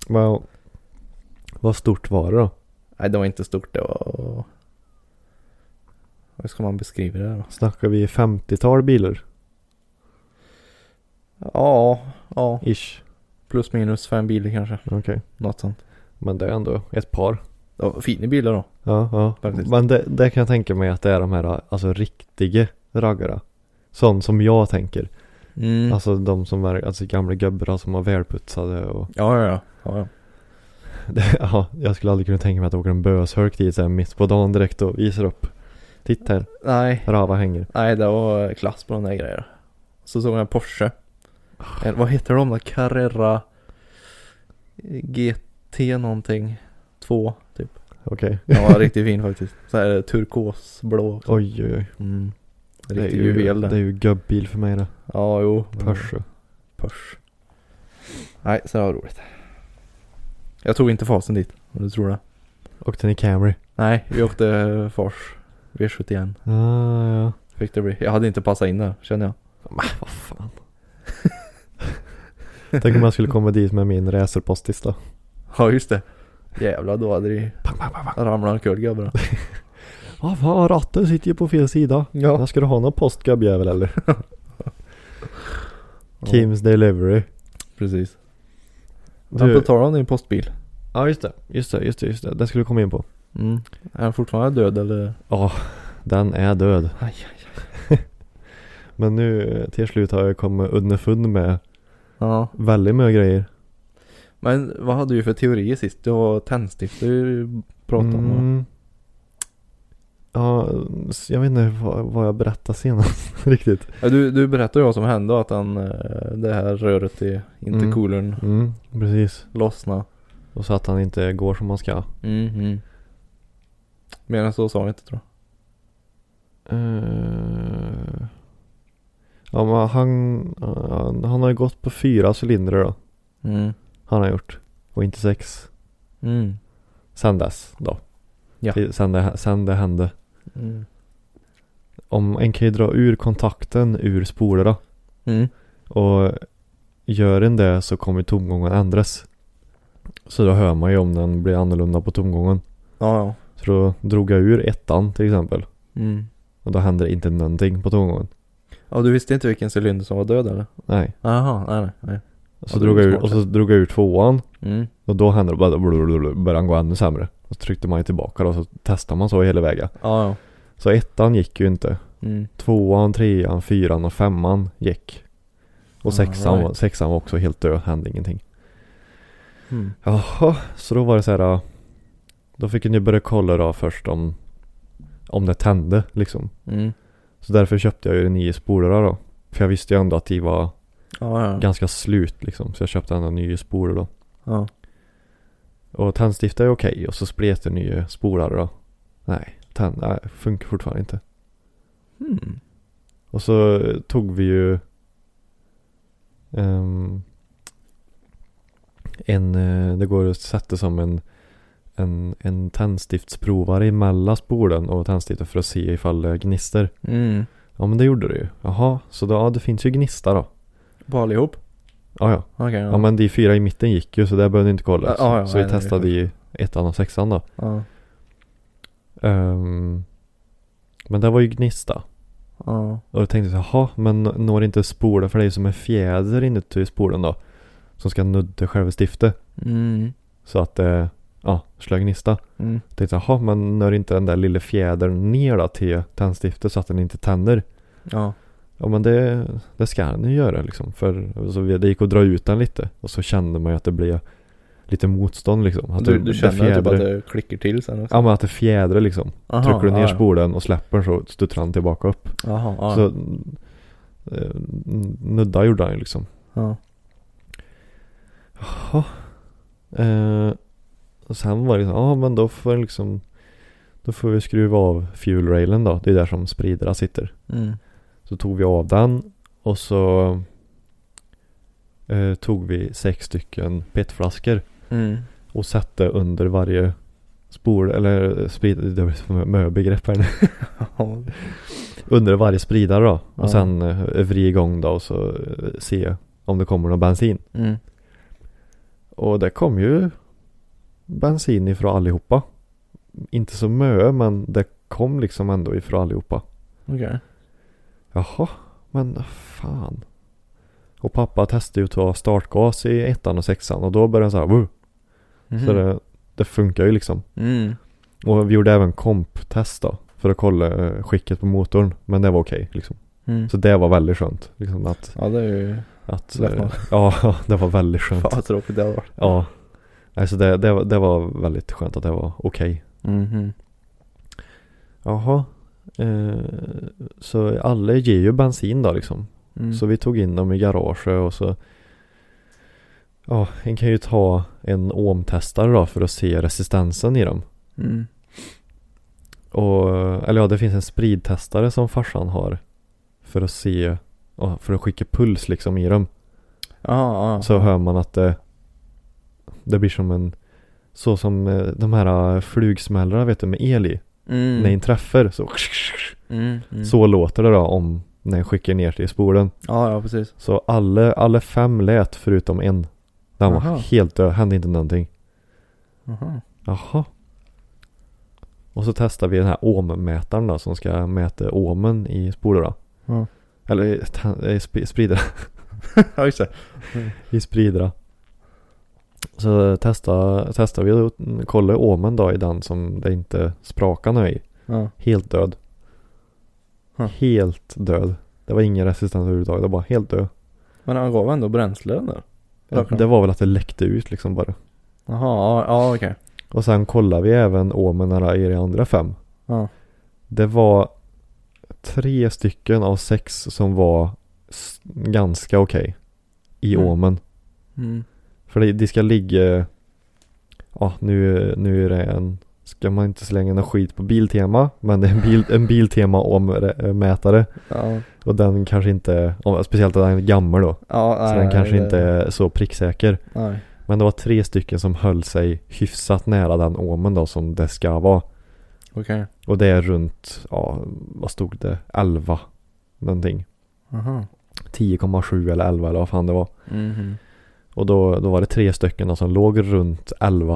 Speaker 1: Wow. Vad stort var det då?
Speaker 2: Nej det var inte stort det var. Hur ska man beskriva det då?
Speaker 1: Snackar vi 50-tal bilar?
Speaker 2: Ja, ja.
Speaker 1: Ish.
Speaker 2: Plus minus fem bilar kanske.
Speaker 1: Okej.
Speaker 2: Något sånt.
Speaker 1: Men det är ändå ett par.
Speaker 2: Det var fina bilar då.
Speaker 1: Ja, ja.
Speaker 2: Faktiskt.
Speaker 1: Men det, det kan jag tänka mig att det är de här alltså riktiga raggare. Sån som jag tänker.
Speaker 2: Mm.
Speaker 1: Alltså de som är alltså, gamla gubbar som var välputsade och
Speaker 2: Ja, ja, ja. ja, ja.
Speaker 1: det, ja, jag skulle aldrig kunna tänka mig att åka en böshök dit så här mitt på dagen direkt och visar upp. Titta här,
Speaker 2: Nej,
Speaker 1: Rava hänger.
Speaker 2: Nej, det var eh, klass på de där grejerna. Så såg jag en Porsche. En, vad heter de där? Carrera GT någonting. Två, typ.
Speaker 1: Okej.
Speaker 2: Den var riktigt fin faktiskt. Så här eh, turkosblå. också.
Speaker 1: Oj, oj, oj.
Speaker 2: Mm.
Speaker 1: Det är
Speaker 2: Riktig
Speaker 1: ju,
Speaker 2: juvel
Speaker 1: det är
Speaker 2: det.
Speaker 1: ju gubbil för mig det.
Speaker 2: Ja, jo.
Speaker 1: Porsche.
Speaker 2: Porsche. Nej, så det var roligt. Jag tog inte fasen dit, om du tror det.
Speaker 1: Och den är Camry.
Speaker 2: Nej, vi åkte Fors V71.
Speaker 1: Ah, ja.
Speaker 2: Fick det bli. Jag hade inte passat in där, känner jag.
Speaker 1: Vad fan. Tänk om jag skulle komma dit med min racerpostis då.
Speaker 2: Ja, just det. Jävlar, då hade det
Speaker 1: Bang, bang, bang, bang.
Speaker 2: ramlat omkull gubbarna.
Speaker 1: Ah, fan, ratten sitter ju på fel sida.
Speaker 2: Ja.
Speaker 1: Jag ska du ha någon postgubbjävel eller?
Speaker 2: Ja.
Speaker 1: Kims Delivery.
Speaker 2: Precis. Du...
Speaker 1: Du,
Speaker 2: På tal om din postbil.
Speaker 1: ja just det, just det, just det, just det. Den skulle du komma in på.
Speaker 2: Mm. Är han fortfarande död eller?
Speaker 1: Den är död.
Speaker 2: Aj,
Speaker 1: Men nu eh, till slut har jag kommit underfund med
Speaker 2: Ja.
Speaker 1: väldigt mycket grejer.
Speaker 2: Men vad hade du för teori sist? Det var tändstifter du pratade om. va?
Speaker 1: Mm. Ja, s- jag vet inte vad, vad jag berättade senast riktigt.
Speaker 2: Ja, Du, du berättade ju vad som hände och att han, eh, det här röret i intercoolern
Speaker 1: Mm, precis.
Speaker 2: lossnade.
Speaker 1: Och så att han inte går som han ska.
Speaker 2: Mm. Mer än så sa jag inte tror jag.
Speaker 1: Eh, ja men han, han, han har ju gått på fyra cylindrar då.
Speaker 2: Mm.
Speaker 1: Han har gjort. Och inte sex.
Speaker 2: Mm.
Speaker 1: Sen dess då.
Speaker 2: Ja.
Speaker 1: Till- Sen det, sen det hände.
Speaker 2: Mm.
Speaker 1: Om en kan ju dra ur kontakten ur spolerna.
Speaker 2: Mm.
Speaker 1: Och gör en det så kommer tomgången ändras. Så då hör man ju om den blir annorlunda på tomgången.
Speaker 2: Ja, ja.
Speaker 1: Så då drog jag ur ettan till exempel.
Speaker 2: Mm.
Speaker 1: Och då händer det inte någonting på tomgången.
Speaker 2: Ja, du visste inte vilken cylinder som var död eller?
Speaker 1: Nej.
Speaker 2: Jaha, nej nej. nej.
Speaker 1: Och
Speaker 2: Ja,
Speaker 1: så,
Speaker 2: det
Speaker 1: drog
Speaker 2: var
Speaker 1: jag
Speaker 2: ju
Speaker 1: ur,
Speaker 2: smart
Speaker 1: och så drog jag ur tvåan.
Speaker 2: Mm.
Speaker 1: Och då hände det bara blablabla, började han gå ännu sämre. Och så tryckte man ju tillbaka då, så testade man så hela vägen.
Speaker 2: Ja, ja.
Speaker 1: Så ettan gick ju inte.
Speaker 2: Mm.
Speaker 1: Tvåan, trean, fyran och femman gick. Och sexan, var-
Speaker 2: Alright.
Speaker 1: sexan var också helt död, hände ingenting.
Speaker 2: Mm.
Speaker 1: Jaha, så då var det så här. ja, Då fick jag ju börja kolla då först om, om det tände liksom.
Speaker 2: Mm.
Speaker 1: Så därför köpte jag ju de nio spolarna då. För jag visste ju ändå att de var
Speaker 2: Ja, ja.
Speaker 1: ganska slut liksom. Så jag köpte ändå nio spoler då.
Speaker 2: Ja.
Speaker 1: Och tändstift är okej och så spretar nya spolar då. Nej, tänd, nej, funkar fortfarande inte.
Speaker 2: Mm.
Speaker 1: Och så tog vi ju ehm, en, eh, det går att sätta som en, en, en tändstiftsprovare emellan spolen och tändstiften för att se ifall det gnister.
Speaker 2: Mm.
Speaker 1: Ja men det gjorde det ju. Jaha, så då, ja, det finns ju gnista då.
Speaker 2: På allihop?
Speaker 1: Ja ja.
Speaker 2: Okej,
Speaker 1: ja.
Speaker 2: ja.
Speaker 1: men de fyra i mitten gick ju så där behövde ni inte kolla.
Speaker 2: Ja, ja,
Speaker 1: så
Speaker 2: nej,
Speaker 1: vi
Speaker 2: nej,
Speaker 1: testade
Speaker 2: det
Speaker 1: i ettan och sexan då.
Speaker 2: ja.
Speaker 1: Ehm, men det var ju gnista.
Speaker 2: Ja.
Speaker 1: Och då tänkte jag jaha, men når inte spolen för det är ju som en fjäder inuti spolen då. Som ska nudda själva stiftet.
Speaker 2: Mm.
Speaker 1: Så att det, ja, slår gnista.
Speaker 2: Mm.
Speaker 1: Jag tänkte jaha, men når inte den där lilla fjädern ner då till tändstiftet så att den inte tänder.
Speaker 2: Ja.
Speaker 1: Ja men det, det ska den ju göra liksom. För alltså, vi- det gick att dra ut den lite. Och så kände man ju att det blev lite motstånd liksom. Att
Speaker 2: Du,
Speaker 1: det-
Speaker 2: du
Speaker 1: det
Speaker 2: känner typ att
Speaker 1: fjädrar-
Speaker 2: det klickar till sen också?
Speaker 1: Ja men att det fjädrar liksom.
Speaker 2: Aha,
Speaker 1: Trycker du ner
Speaker 2: ja, ja.
Speaker 1: spolen och släpper den så studsar den tillbaka upp.
Speaker 2: Jaha, ja.
Speaker 1: Så eh, n- nudda gjorde han ju liksom.
Speaker 2: ja.
Speaker 1: Jaha. Eh, och sen var det liksom, ja men då får jag liksom Då får vi skruva av fuel railen då. Det är där som spridarna sitter.
Speaker 2: Mm.
Speaker 1: Så tog vi av den och så eh, tog vi sex stycken petflaskor
Speaker 2: Mm.
Speaker 1: och satte under varje spol eller eh, sprid, det blir som mö begrepp här nu.
Speaker 2: Ja.
Speaker 1: Under varje spridare då.
Speaker 2: Ja.
Speaker 1: Och sen eh, vri igång då och så eh, se om det kommer någon bensin.
Speaker 2: Mm.
Speaker 1: Och det kom ju bensin ifrån allihopa. Inte så mö men det kom liksom ändå ifrån allihopa.
Speaker 2: Okej.
Speaker 1: Jaha, men fan. Och pappa testade ju att ta startgas i ettan och sexan och då började han så här, "Woo."
Speaker 2: Mhm.
Speaker 1: Så det, det funkar ju liksom.
Speaker 2: Mm.
Speaker 1: Och vi gjorde även komptest då. För att kolla eh, skicket på motorn. Men det var okej liksom.
Speaker 2: Mm.
Speaker 1: Så det var väldigt skönt. Liksom att,
Speaker 2: Ja det är ju...
Speaker 1: att
Speaker 2: Lättnad.
Speaker 1: eh, ja, det var väldigt skönt.
Speaker 2: Fan vad tråkigt det hade varit.
Speaker 1: Ja. Nej, så det, det, var- det var väldigt skönt att det var okej. Mm-hmm.
Speaker 2: Mhm.
Speaker 1: Jaha. Eh, så alla ger ju bensin då liksom.
Speaker 2: Mm.
Speaker 1: Så vi tog in dem i garaget och så Ja, en kan ju ta en ohmtestare då för att se resistensen i dem.
Speaker 2: Mm.
Speaker 1: Och, eller ja, det finns en spridtestare som farsan har. För att se, ja, för att skicka puls liksom i dem.
Speaker 2: Ja, ja.
Speaker 1: Så hör man att det, det blir som en, så som eh, de här eh, flugsmällare vet du med el i.
Speaker 2: Mm.
Speaker 1: När en träffar så,
Speaker 2: Mm. Mm.
Speaker 1: så låter det då om när en skickar ner till spolen.
Speaker 2: Ja, ja precis.
Speaker 1: Så alla, alla fem lät förutom en. Den var
Speaker 2: Aha.
Speaker 1: helt död, hände inte någonting.
Speaker 2: Jaha.
Speaker 1: Jaha. Och så testar vi den här ohmmätaren då som ska mäta ohmen i spoler då.
Speaker 2: Ja.
Speaker 1: Eller i tan- i sp- spridra.
Speaker 2: Ja just det.
Speaker 1: I spridra. Så testa, testar vi och kollar ohmen då i den som det inte sprakar nu i.
Speaker 2: Ja.
Speaker 1: Helt död.
Speaker 2: Huh.
Speaker 1: Helt död. Det var ingen resistens överhuvudtaget, det var bara helt död.
Speaker 2: Men han gav ändå bränsle den där. Rökaren.
Speaker 1: Det var väl att det läckte ut liksom bara.
Speaker 2: Jaha, ja, ja okej.
Speaker 1: Och sen kollar vi även åmenerna i de andra fem.
Speaker 2: Ja.
Speaker 1: Det var tre stycken av sex som var s- ganska okej i
Speaker 2: Mm.
Speaker 1: åmen.
Speaker 2: Mm.
Speaker 1: För det, det ska ligga, ja nu, nu är det en, ska man inte slänga någon skit på Biltema, men det är en, bil, en Biltema åmmätare.
Speaker 2: Ja.
Speaker 1: Och den kanske inte, ja, speciellt att den är gammal då,
Speaker 2: Ja,
Speaker 1: så
Speaker 2: nej,
Speaker 1: den kanske
Speaker 2: det-
Speaker 1: inte är så pricksäker.
Speaker 2: Nej.
Speaker 1: Men det var tre stycken som höll sig hyfsat nära den åmen då som det ska vara.
Speaker 2: Okej.
Speaker 1: Och det är runt, ja, vad stod det? 11 någonting.
Speaker 2: Jaha.
Speaker 1: 10,7 eller 11 eller vad fan det var.
Speaker 2: Mhm.
Speaker 1: Och då, då var det tre stycken som låg runt 11.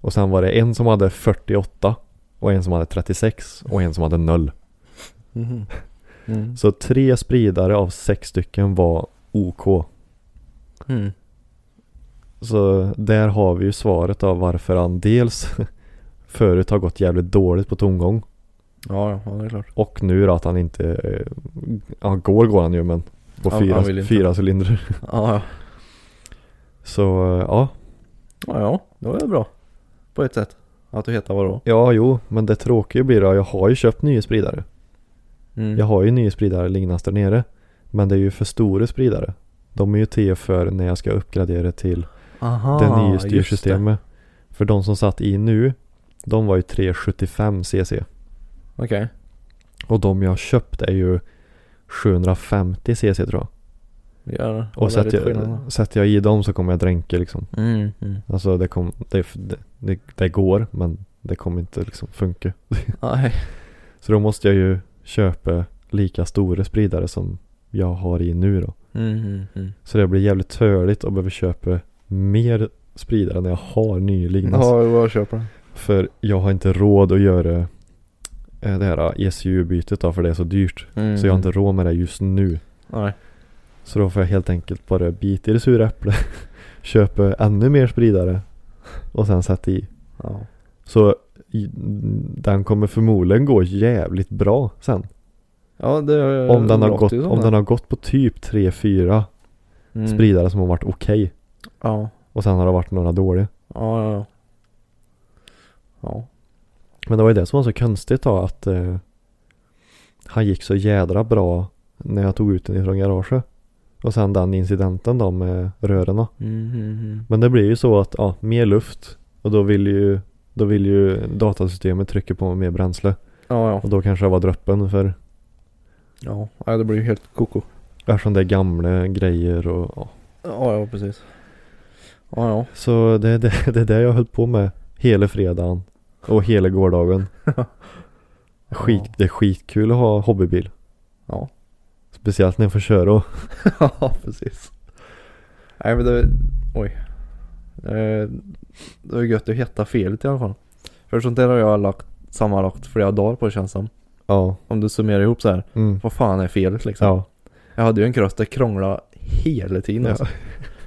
Speaker 1: Och sen var det en som hade 48 och en som hade 36 och en som hade 0.
Speaker 2: Mhm. Mm.
Speaker 1: Så tre spridare av sex stycken var OK.
Speaker 2: Mm.
Speaker 1: Så där har vi ju svaret av varför han dels förut har gått jävligt dåligt på tomgång.
Speaker 2: Ja, ja, ja, det är klart.
Speaker 1: Och nu då att han inte, eh, ja går går han ju men på
Speaker 2: Han-
Speaker 1: fyra,
Speaker 2: han vill inte.
Speaker 1: fyra cylindrar.
Speaker 2: Ja, ja.
Speaker 1: Så eh, ja,
Speaker 2: Ja, ja, det var ju bra. På ett sätt. Att du heter vadå?
Speaker 1: ja jo men det tråkiga blir då, jag har ju köpt nya spridare.
Speaker 2: Mm.
Speaker 1: Jag har ju nya spridare liggandes där nere. Men det är ju för stora spridare. De är ju till för när jag ska uppgradera till
Speaker 2: Aha,
Speaker 1: det nya
Speaker 2: Ah, just
Speaker 1: styrsystemet. För de som satt i nu, de var ju 375 cc.
Speaker 2: det. Okej.
Speaker 1: Och de jag har köpt är ju 750 cc tror jag.
Speaker 2: Ja,
Speaker 1: Och
Speaker 2: så att
Speaker 1: sätter jag, sätter jag i dem så kommer jag dränka liksom.
Speaker 2: Mm, mm.
Speaker 1: Alltså det, kom, det, det, det, det går men det kommer inte liksom funka.
Speaker 2: Nej.
Speaker 1: Så då måste jag ju köpa lika stora spridare som jag har i nu då.
Speaker 2: Mm, mm, mm.
Speaker 1: Så det blir jävligt töligt att behöva köpa mer spridare än jag har nyligen.
Speaker 2: Ja, jag köper den.
Speaker 1: För jag har inte råd att göra eh, det här ECU-bytet då för det är så dyrt.
Speaker 2: Mm.
Speaker 1: Så jag har inte råd med det just nu.
Speaker 2: Nej.
Speaker 1: Så då får jag helt enkelt bara bita i det sura äpplet. köpa ännu mer spridare. Och sen sätta i.
Speaker 2: Ja.
Speaker 1: Så i- den kommer förmodligen gå jävligt bra sen.
Speaker 2: ja, det
Speaker 1: Om den, har
Speaker 2: låter
Speaker 1: gått,
Speaker 2: ju som
Speaker 1: om
Speaker 2: det.
Speaker 1: den har gått på typ 3-4
Speaker 2: Mm.
Speaker 1: spridare som har varit okej.
Speaker 2: Ja,
Speaker 1: Och sen har det varit några dåliga.
Speaker 2: ja, ja. ja. Ja,
Speaker 1: Men det var ju det som var så konstigt då att eh, han gick så jädra bra när jag tog ut den ifrån garaget. Och sen den incidenten då med rören då.
Speaker 2: mm, mm, mm.
Speaker 1: Men det blir ju så att ja, mer luft och då vill ju då vill ju datasystemet trycka på mer bränsle
Speaker 2: ja, ja.
Speaker 1: och då kanske det var droppen för
Speaker 2: Ja, ja det blir ju helt koko.
Speaker 1: eftersom det är gamla grejer och ja.
Speaker 2: Ja, ja, precis. Ja, ja.
Speaker 1: Så det är det, det, är det jag höll på med hela fredagen och hela gårdagen. Skit, Det är skitkul att ha hobbybil.
Speaker 2: Ja.
Speaker 1: Speciellt när jag får köra och
Speaker 2: ja, precis. Nej men det... Oj. Eh, Det var ju gött att hitta felet i alla fall. För sånt där har jag lagt sammanlagt flera dagar på känns som.
Speaker 1: Ja.
Speaker 2: Om du summerar ihop så här.
Speaker 1: Mm.
Speaker 2: Vad fan är felet liksom?
Speaker 1: Ja.
Speaker 2: Jag hade ju en cross där krånglade hela tiden
Speaker 1: Ja.
Speaker 2: alltså.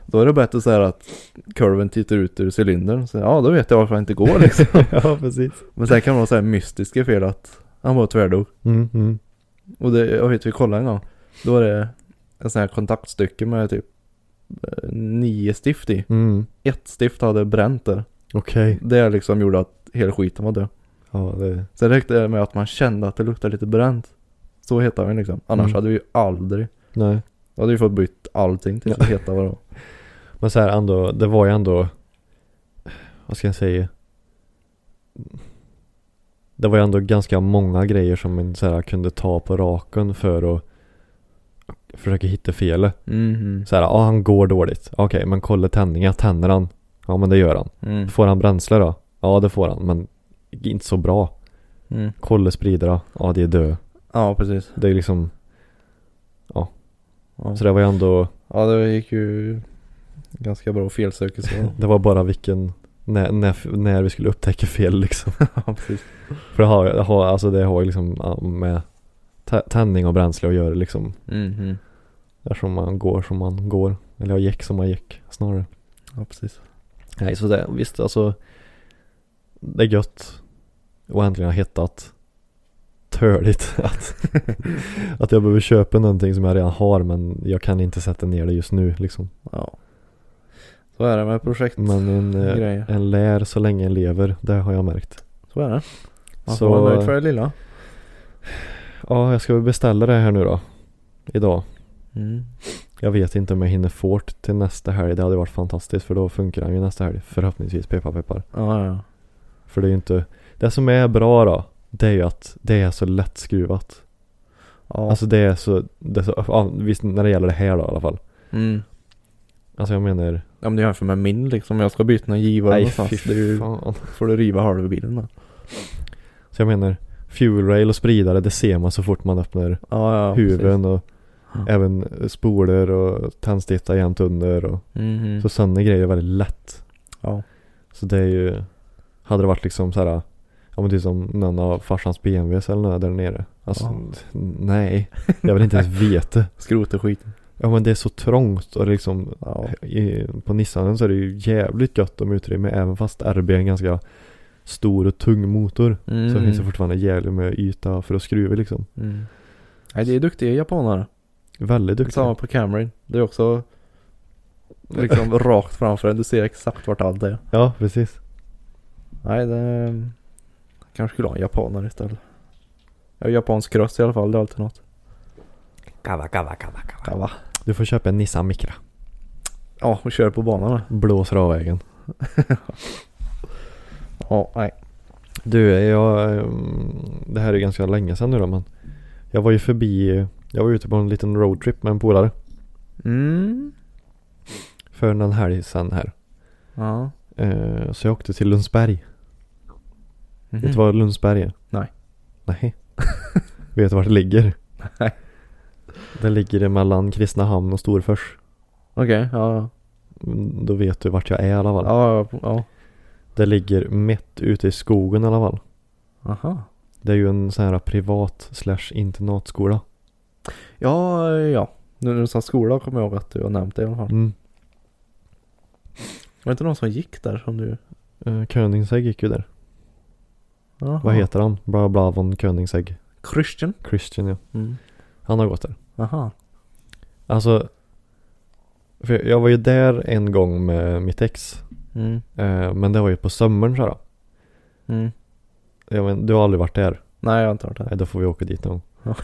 Speaker 2: Då är det bättre så här att kurven tittar ut ur cylindern. Så, ja, då vet jag varför jag inte går liksom.
Speaker 1: ja, precis.
Speaker 2: Men sen kan det vara så här mystiska fel att han bara tvärdog.
Speaker 1: Mm, mm.
Speaker 2: Och det, jag vet vi kollade en gång. Då var det en sån här kontaktstycke med typ eh, nio stift i.
Speaker 1: Mm.
Speaker 2: Ett stift hade bränt där.
Speaker 1: Okej.
Speaker 2: Det liksom gjorde att hela skiten var död.
Speaker 1: Ja, det...
Speaker 2: Sen räckte det med att man kände att det luktade lite bränt. Så hetade vi liksom. Annars
Speaker 1: Mm.
Speaker 2: hade vi ju aldrig.
Speaker 1: Nej.
Speaker 2: Då hade vi fått bytt allting till att heta vad det var.
Speaker 1: Men så här ändå, det var ju ändå... Vad ska jag säga? Det var ju ändå ganska många grejer som man så här, kunde ta på raken för att försöka hitta felet.
Speaker 2: Mhm.
Speaker 1: Så här, ja han går dåligt. Okej, men kolla tändningar, tänder han? Ja men det gör han.
Speaker 2: Mm.
Speaker 1: Får han bränsle då? Ja det får han, men inte så bra.
Speaker 2: Mm.
Speaker 1: Kolla spridare, ja det är dö.
Speaker 2: Ja, precis.
Speaker 1: Det är liksom,
Speaker 2: Ja.
Speaker 1: så det var ju ändå
Speaker 2: ja, det gick ju ganska bra felsöke så.
Speaker 1: Det var bara vilken, när, när, när vi skulle upptäcka fel liksom.
Speaker 2: ja, precis.
Speaker 1: För det har, det har, alltså det har ju liksom ja, med tä- tändning och bränsle att göra liksom.
Speaker 2: Mhm.
Speaker 1: Eftersom man går som man går. Eller jag gick som man gick snarare.
Speaker 2: Ja, precis.
Speaker 1: Nej så det, visst alltså. Det är gött. Och äntligen har hittat törligt att, att jag behöver köpa någonting som jag redan har men jag kan inte sätta ner det just nu liksom.
Speaker 2: Ja. Så är det med projekt.
Speaker 1: Men en, eh,
Speaker 2: grejer.
Speaker 1: en lär så länge en lever, det har jag märkt.
Speaker 2: Så är det. Man
Speaker 1: Så-
Speaker 2: får vara nöjd för det lilla.
Speaker 1: Ja, jag ska väl beställa det här nu då. Idag.
Speaker 2: Mm.
Speaker 1: Jag vet inte om jag hinner få det till nästa helg. Det hade varit fantastiskt för då funkar den ju nästa helg. Förhoppningsvis, peppar peppar.
Speaker 2: Ja, ja.
Speaker 1: För det är ju inte... Det som är bra då, det är ju att det är så lätt skruvat.
Speaker 2: ja.
Speaker 1: Alltså det är så... Det är så ja, visst, när det gäller det här då i alla fall.
Speaker 2: Mm.
Speaker 1: Alltså jag menar...
Speaker 2: Om du jämför med min liksom. Jag ska byta någon givare
Speaker 1: Nej,
Speaker 2: någonstans.
Speaker 1: fy
Speaker 2: Det är ju,
Speaker 1: fan.
Speaker 2: får du riva halva bilen då.
Speaker 1: Så jag menar, fuel rail och spridare, det ser man så fort man öppnar
Speaker 2: Ja, ja.
Speaker 1: huven och
Speaker 2: Ja.
Speaker 1: även spoler och tändstiftar jämt under och...
Speaker 2: Mm.
Speaker 1: Så sådana grejer är väldigt lätt.
Speaker 2: Ja.
Speaker 1: Så det är ju, hade det varit liksom så här, ja men typ som någon av farsans BMWs eller något där nere. Alltså
Speaker 2: Ja.
Speaker 1: n- nej, jag vill inte ens veta.
Speaker 2: Skrot och skit.
Speaker 1: Ja men det är så trångt och det är liksom
Speaker 2: Ja.
Speaker 1: i, på Nissanen så är det ju jävligt gött om utrymme även fast RB är en ganska stor och tung motor.
Speaker 2: Mm.
Speaker 1: Så det finns det fortfarande jävligt med yta för att skruva liksom.
Speaker 2: Mm. Nej, det är duktiga japanare.
Speaker 1: Väldigt duktig.
Speaker 2: Samma på Camry. Det är också liksom rakt framför dig. Du ser exakt vart allt är.
Speaker 1: Ja, precis.
Speaker 2: Nej, det... Kanske skulle ha en japanare istället. Ja, japansk röst i alla fall. Det är alltid något.
Speaker 3: Kava, kava, kava, kava.
Speaker 2: Ja, va?
Speaker 1: Du får köpa en Nissan Micra.
Speaker 2: Ja, och kör på banan med.
Speaker 1: Blåser av vägen.
Speaker 2: Ja, nej.
Speaker 1: Du, jag... ehm, Det här är ganska länge sedan nu då men. Jag var ju förbi... Jag var ute på en liten roadtrip med en polare.
Speaker 2: Mm.
Speaker 1: För någon helg sedan här.
Speaker 2: Ja.
Speaker 1: Eh, Så jag åkte till Lundsberg. Vet du var Lundsberg är?
Speaker 2: Mm. Nej.
Speaker 1: Nej. Vet du vart det ligger?
Speaker 2: Nej.
Speaker 1: Det ligger det mellan Kristinehamn och Storfors.
Speaker 2: Okej, ja.
Speaker 1: Mm, Då vet du vart jag är i alla fall.
Speaker 2: Ja, ja, ja.
Speaker 1: Det ligger mitt ute i skogen i alla fall.
Speaker 2: Aha.
Speaker 1: Det är ju en sån här privat slash internatskola.
Speaker 2: Ja, ja. Nu när du sa skola kommer jag ihåg att du har nämnt det i alla fall.
Speaker 1: Mm.
Speaker 2: Var det inte någon som gick där som du...
Speaker 1: Eh, Koenigsegg gick ju där.
Speaker 2: Aha.
Speaker 1: Vad heter han? Bla bla von Koenigsegg.
Speaker 2: Christian?
Speaker 1: Christian ja.
Speaker 2: Mm.
Speaker 1: Han har gått där.
Speaker 2: Aha.
Speaker 1: Alltså. För jag- jag var ju där en gång med mitt ex.
Speaker 2: Mm.
Speaker 1: Eh, Men det var ju på sommaren så här.
Speaker 2: Mm.
Speaker 1: Jag men, du har aldrig varit där?
Speaker 2: Nej, jag har inte hört det.
Speaker 1: Nej, då får vi åka dit någon gång.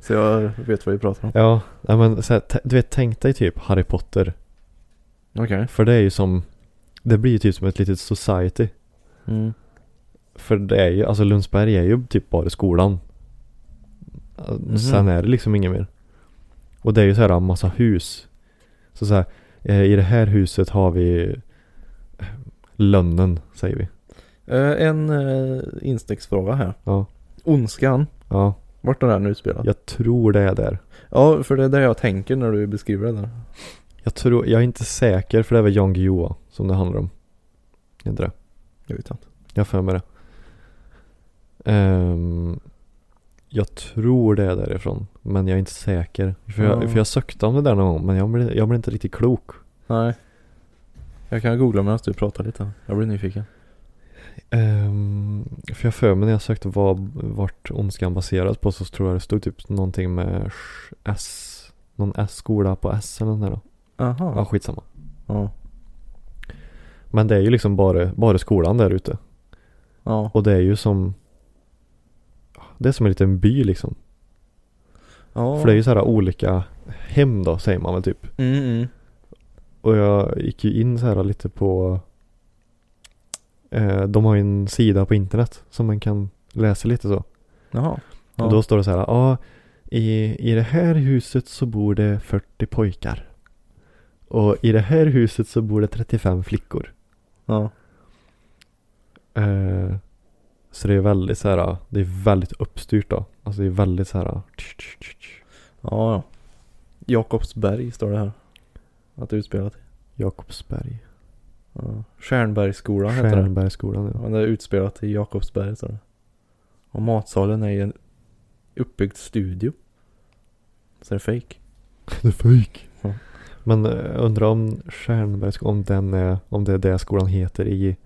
Speaker 2: Så jag vet vad vi pratar om.
Speaker 1: Ja, nej, men så här, t- du vet tänk dig typ Harry Potter.
Speaker 2: Okej.
Speaker 1: För det är ju som, det blir ju typ som ett litet society.
Speaker 2: Mm.
Speaker 1: För det är ju, alltså Lundsberg är ju typ bara skolan.
Speaker 2: Mhm.
Speaker 1: Sen är det liksom inget mer. Och det är ju så här en massa hus. Så så här, eh, i det här huset har vi eh, lönnen, säger vi.
Speaker 2: Eh, en eh, instegsfråga här.
Speaker 1: Ja,
Speaker 2: Ondskan.
Speaker 1: ja,
Speaker 2: Vart är den utspelad? Ja.
Speaker 1: jag tror det är där.
Speaker 2: för det är det jag tänker när du beskriver det där.
Speaker 1: Jag tror, jag är inte säker för det är väl Jan Guillou va, som det handlar om. Är inte det?
Speaker 2: Jag vet inte.
Speaker 1: Jag har för mig det. Ehm, jag tror det är därifrån, men jag är inte säker. För jag,
Speaker 2: Ja.
Speaker 1: för jag sökte om det där någon gång, men jag blev, jag blev inte riktigt klok.
Speaker 2: Nej. Jag kan googla medan du pratar lite. Jag blir nyfiken.
Speaker 1: Ehm, för jag för mig när jag sökte vad, vart ondskan baseras på så tror jag det stod typ någonting med sh- S. Någon S-skola på S eller något där då.
Speaker 2: Aha.
Speaker 1: Ja, skitsamma.
Speaker 2: Ja.
Speaker 1: Men det är ju liksom bara, bara skolan där ute.
Speaker 2: Ja.
Speaker 1: Och det är ju som Det är som en liten by liksom.
Speaker 2: ja.
Speaker 1: För det är ju så här olika hem då säger man väl typ.
Speaker 2: Mm, mm.
Speaker 1: Och jag gick ju in så här lite på eh, De har ju en sida på internet som man kan läsa lite så.
Speaker 2: Jaha. Ja.
Speaker 1: Och då står det så här, ja i, i det här huset så bor det 40 pojkar. Och i det här huset så bor det 35 flickor.
Speaker 2: Ja.
Speaker 1: Eh, så det är väldigt så här, det är väldigt uppstyrt då. Alltså det är väldigt så här. tsch, tsch, tsch, tsch.
Speaker 2: Ja, ja. Jakobsberg står det här. Att det är utspelat i.
Speaker 1: Jakobsberg.
Speaker 2: Ja. Stjärnbergsskolan heter det.
Speaker 1: Stjärnbergsskolan
Speaker 2: Ja,
Speaker 1: ja.
Speaker 2: Men det är utspelat i Jakobsberg står det. Och matsalen är i en uppbyggd studio. Så är det fejk.
Speaker 1: Det är fejk.
Speaker 2: Ja.
Speaker 1: Men eh, undrar om Stjärnbergsskolan, om, den är, om det är det skolan heter i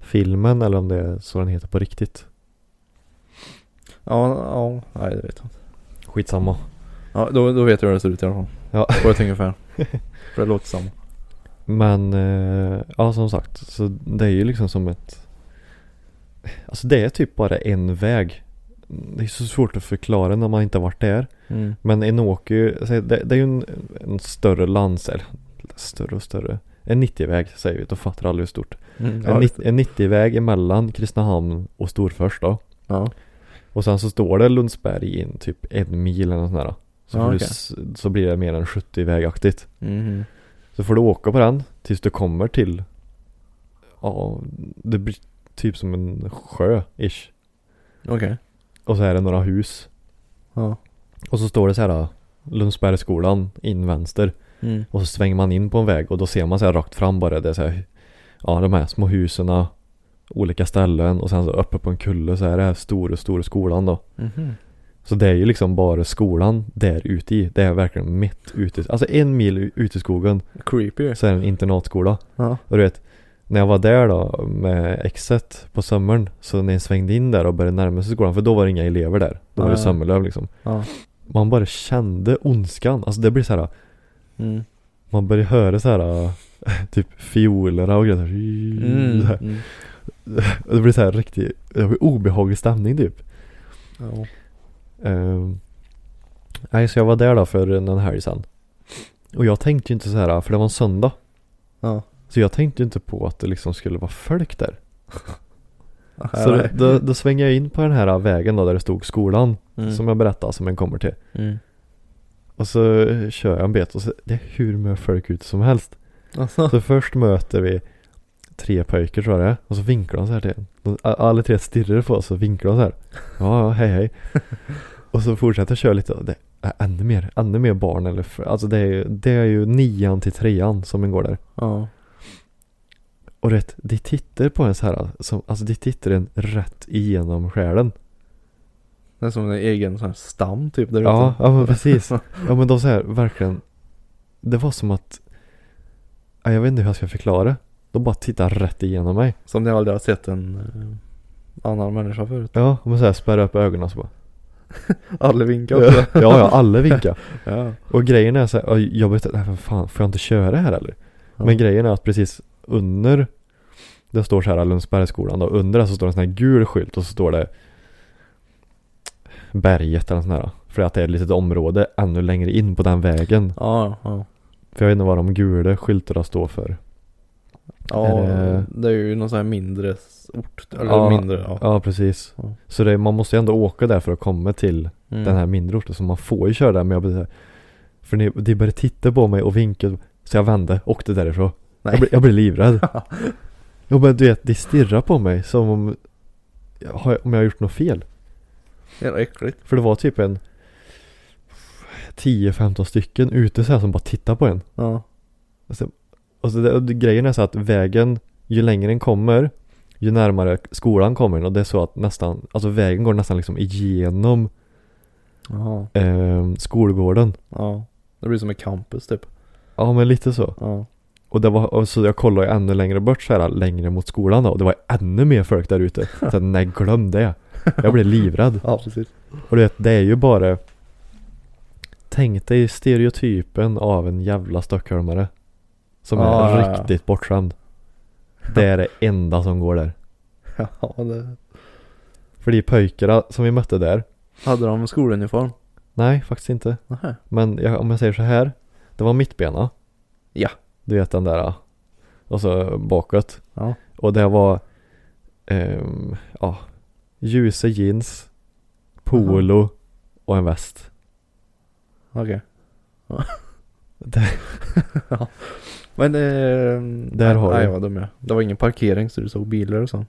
Speaker 1: filmen eller om det är så den heter på riktigt.
Speaker 2: Ja, ja, nej det vet jag inte.
Speaker 1: Skitsamma.
Speaker 2: Ja, då, då vet jag hur det ser ut i alla fall.
Speaker 1: Ja.
Speaker 2: På ett ungefär. För det låter samma.
Speaker 1: Men eh, ja som sagt, så det är ju liksom som ett Alltså det är typ bara en väg. Det är så svårt att förklara när man inte har varit där.
Speaker 2: Mm.
Speaker 1: Men en åker ju, säg, det, det är ju en, en större lands, eller större och större. En 90-väg säger vi, då fattar alla hur stort.
Speaker 2: Mm,
Speaker 1: En,
Speaker 2: ja,
Speaker 1: nitt- en 90-väg emellan Kristinehamn och Storfors då.
Speaker 2: ja.
Speaker 1: Och sen så står det Lundsberg in typ en mil eller något sånt där. Så,
Speaker 2: Ja,
Speaker 1: får du,
Speaker 2: okej.
Speaker 1: s- så blir det mer än 70-vägaktigt.
Speaker 2: Mhm.
Speaker 1: Så får du åka på den tills du kommer till, ja, det blir typ som en sjö-ish.
Speaker 2: Okej.
Speaker 1: Och så är det några hus.
Speaker 2: Ja.
Speaker 1: Och så står det så här Lundsbergsskolan in vänster.
Speaker 2: Mm.
Speaker 1: Och så svänger man in på en väg och då ser man så här rakt fram bara det är så här, ja de här små husen, olika ställen och sen så uppe på en kulle så är det här stora, stora skolan då.
Speaker 2: Mhm.
Speaker 1: Så det är ju liksom bara skolan där ute i. Det är verkligen mitt ute, alltså en mil u- ut i skogen
Speaker 2: Creepy.
Speaker 1: så är det en internatskola.
Speaker 2: Ja.
Speaker 1: Och du vet, när jag var där då med exet på sommaren så när jag svängde in där och började närma sig skolan för då var det inga elever där. Då var det
Speaker 2: Nej.
Speaker 1: sommarlov liksom.
Speaker 2: Ja.
Speaker 1: Man bara kände ondskan. Alltså det blir så här.
Speaker 2: Mm.
Speaker 1: man börjar höra så här typ fiolerna och grejer. så här.
Speaker 2: Mm.
Speaker 1: Så här.
Speaker 2: Mm.
Speaker 1: Och Det blir så här riktigt det blir obehaglig stämning typ.
Speaker 2: Ja.
Speaker 1: Ehm, nej, så jag var där då för en helg sedan. Och jag tänkte ju inte så här, för det var en söndag.
Speaker 2: Ja.
Speaker 1: Så jag tänkte ju inte på att det liksom skulle vara folk där. Så då,
Speaker 2: Nej.
Speaker 1: då, då svänger jag in på den här vägen då där det stod skolan.
Speaker 2: Mm.
Speaker 1: Som jag berättade som en kommer till.
Speaker 2: Mm.
Speaker 1: Och så kör jag en bit och så, det är hur mycket folk ute som helst.
Speaker 2: Alltså.
Speaker 1: Så först möter vi tre pojkar tror jag det är, och så vinkar de så här till en. De- a- Alla tre stirrar på oss och vinkar de så här. Ja, ja, hej hej. Och så fortsätter jag köra lite och det är ännu mer, ännu mer barn eller för, alltså det är, ju- det är ju nian till trean som en går där.
Speaker 2: Ja.
Speaker 1: Och rätt, de tittar på en så här, som, alltså de tittar en rätt igenom själen.
Speaker 2: Det är som en egen sån här stam typ där
Speaker 1: Ja,
Speaker 2: ute.
Speaker 1: ja men precis. Ja men de så här, verkligen. Det var som att, ja, jag vet inte hur jag ska förklara. De bara tittar rätt igenom mig.
Speaker 2: Som ni aldrig har sett en eh, annan människa förut.
Speaker 1: Ja, och man så här spärrar upp ögonen och så bara
Speaker 2: Alla vinkar
Speaker 1: Ja,
Speaker 2: också.
Speaker 1: ja, alla vinkar.
Speaker 2: ja.
Speaker 1: Och grejen är så här, och jag vet inte, fan, får jag inte köra här eller? Men grejen är att precis under, det står så här Lundsbergsskolan då, under det så står det en sån här gul skylt och så står det Berget eller sån här. För att det är ett litet område ännu längre in på den vägen.
Speaker 2: Ja, ja.
Speaker 1: För jag vet inte vad de gula skyltarna står för.
Speaker 2: Ja,
Speaker 1: Är det-
Speaker 2: det är ju någon sån här mindre s- ort. Eller
Speaker 1: Ja,
Speaker 2: mindre, ja.
Speaker 1: Ja, precis.
Speaker 2: Ja.
Speaker 1: Så det, man måste ju ändå åka där för att komma till
Speaker 2: Mm.
Speaker 1: den här mindre orten så man får ju köra där men jag blir såhär För ni, de började titta på mig och vinka Så jag vände, åkte därifrån
Speaker 2: Nej.
Speaker 1: jag, blev, jag blev livrädd Jo men du vet, de stirrar på mig som om har jag- Om jag har gjort något fel
Speaker 2: Jävla äckligt.
Speaker 1: För det var typ en 10-15 stycken ute så här som bara tittar på en
Speaker 2: Ja.
Speaker 1: Och så det, och det, grejen är så att vägen Ju längre den kommer Ju närmare skolan kommer den och det är så att nästan Alltså vägen går nästan liksom igenom
Speaker 2: Jaha.
Speaker 1: eh, skolgården
Speaker 2: Ja. Det blir som en campus typ.
Speaker 1: Ja men lite så
Speaker 2: Ja.
Speaker 1: Och det var, och så jag kollade ju ännu längre bort så här, längre mot skolan då, och det var ännu mer folk där ute. Så jag, nej glöm det. Jag blev livrädd.
Speaker 2: Ja, precis.
Speaker 1: Och du vet, det är ju bara Tänk dig stereotypen av en jävla stockholmare. Som
Speaker 2: Ja,
Speaker 1: är
Speaker 2: ja, ja.
Speaker 1: riktigt bortskämd. Det är det enda som går där.
Speaker 2: Ja, det...
Speaker 1: För de pojkarna som vi mötte där,
Speaker 2: Hade de en skoluniform?
Speaker 1: nej faktiskt inte.
Speaker 2: Nähä.
Speaker 1: Men jag, om jag säger så här, det var mittbena.
Speaker 2: Ja.
Speaker 1: Du vet den där, och så bakåt.
Speaker 2: Ja.
Speaker 1: Och det var ehm, ja, ljusa jeans, polo och en väst.
Speaker 2: Okej.
Speaker 1: Det-
Speaker 2: ja. Men eh,
Speaker 1: Där har
Speaker 2: nej,
Speaker 1: du.
Speaker 2: nej, vad dum jag är. Det var ingen parkering så du såg bilar och sånt.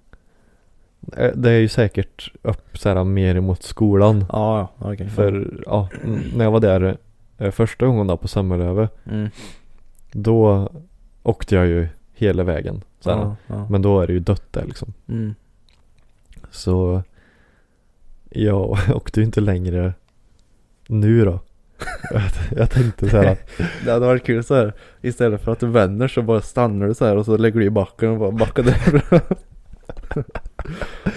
Speaker 1: Eh, Det är ju säkert upp så här, mer mot skolan.
Speaker 2: Ja, ja. Okej.
Speaker 1: För ja, n- när jag var där eh, första gången då på Sommarlöve,
Speaker 2: Mm.
Speaker 1: då åkte jag ju hela vägen. Så här.
Speaker 2: Ja, ja.
Speaker 1: Men då är det ju dött där liksom.
Speaker 2: Mm.
Speaker 1: Så jag åkte ju inte längre nu då. Jag- jag tänkte så här att
Speaker 2: Det hade varit kul så här. Istället för att du vänder så bara stannar du så här och så lägger du i backen och bara backar därifrån.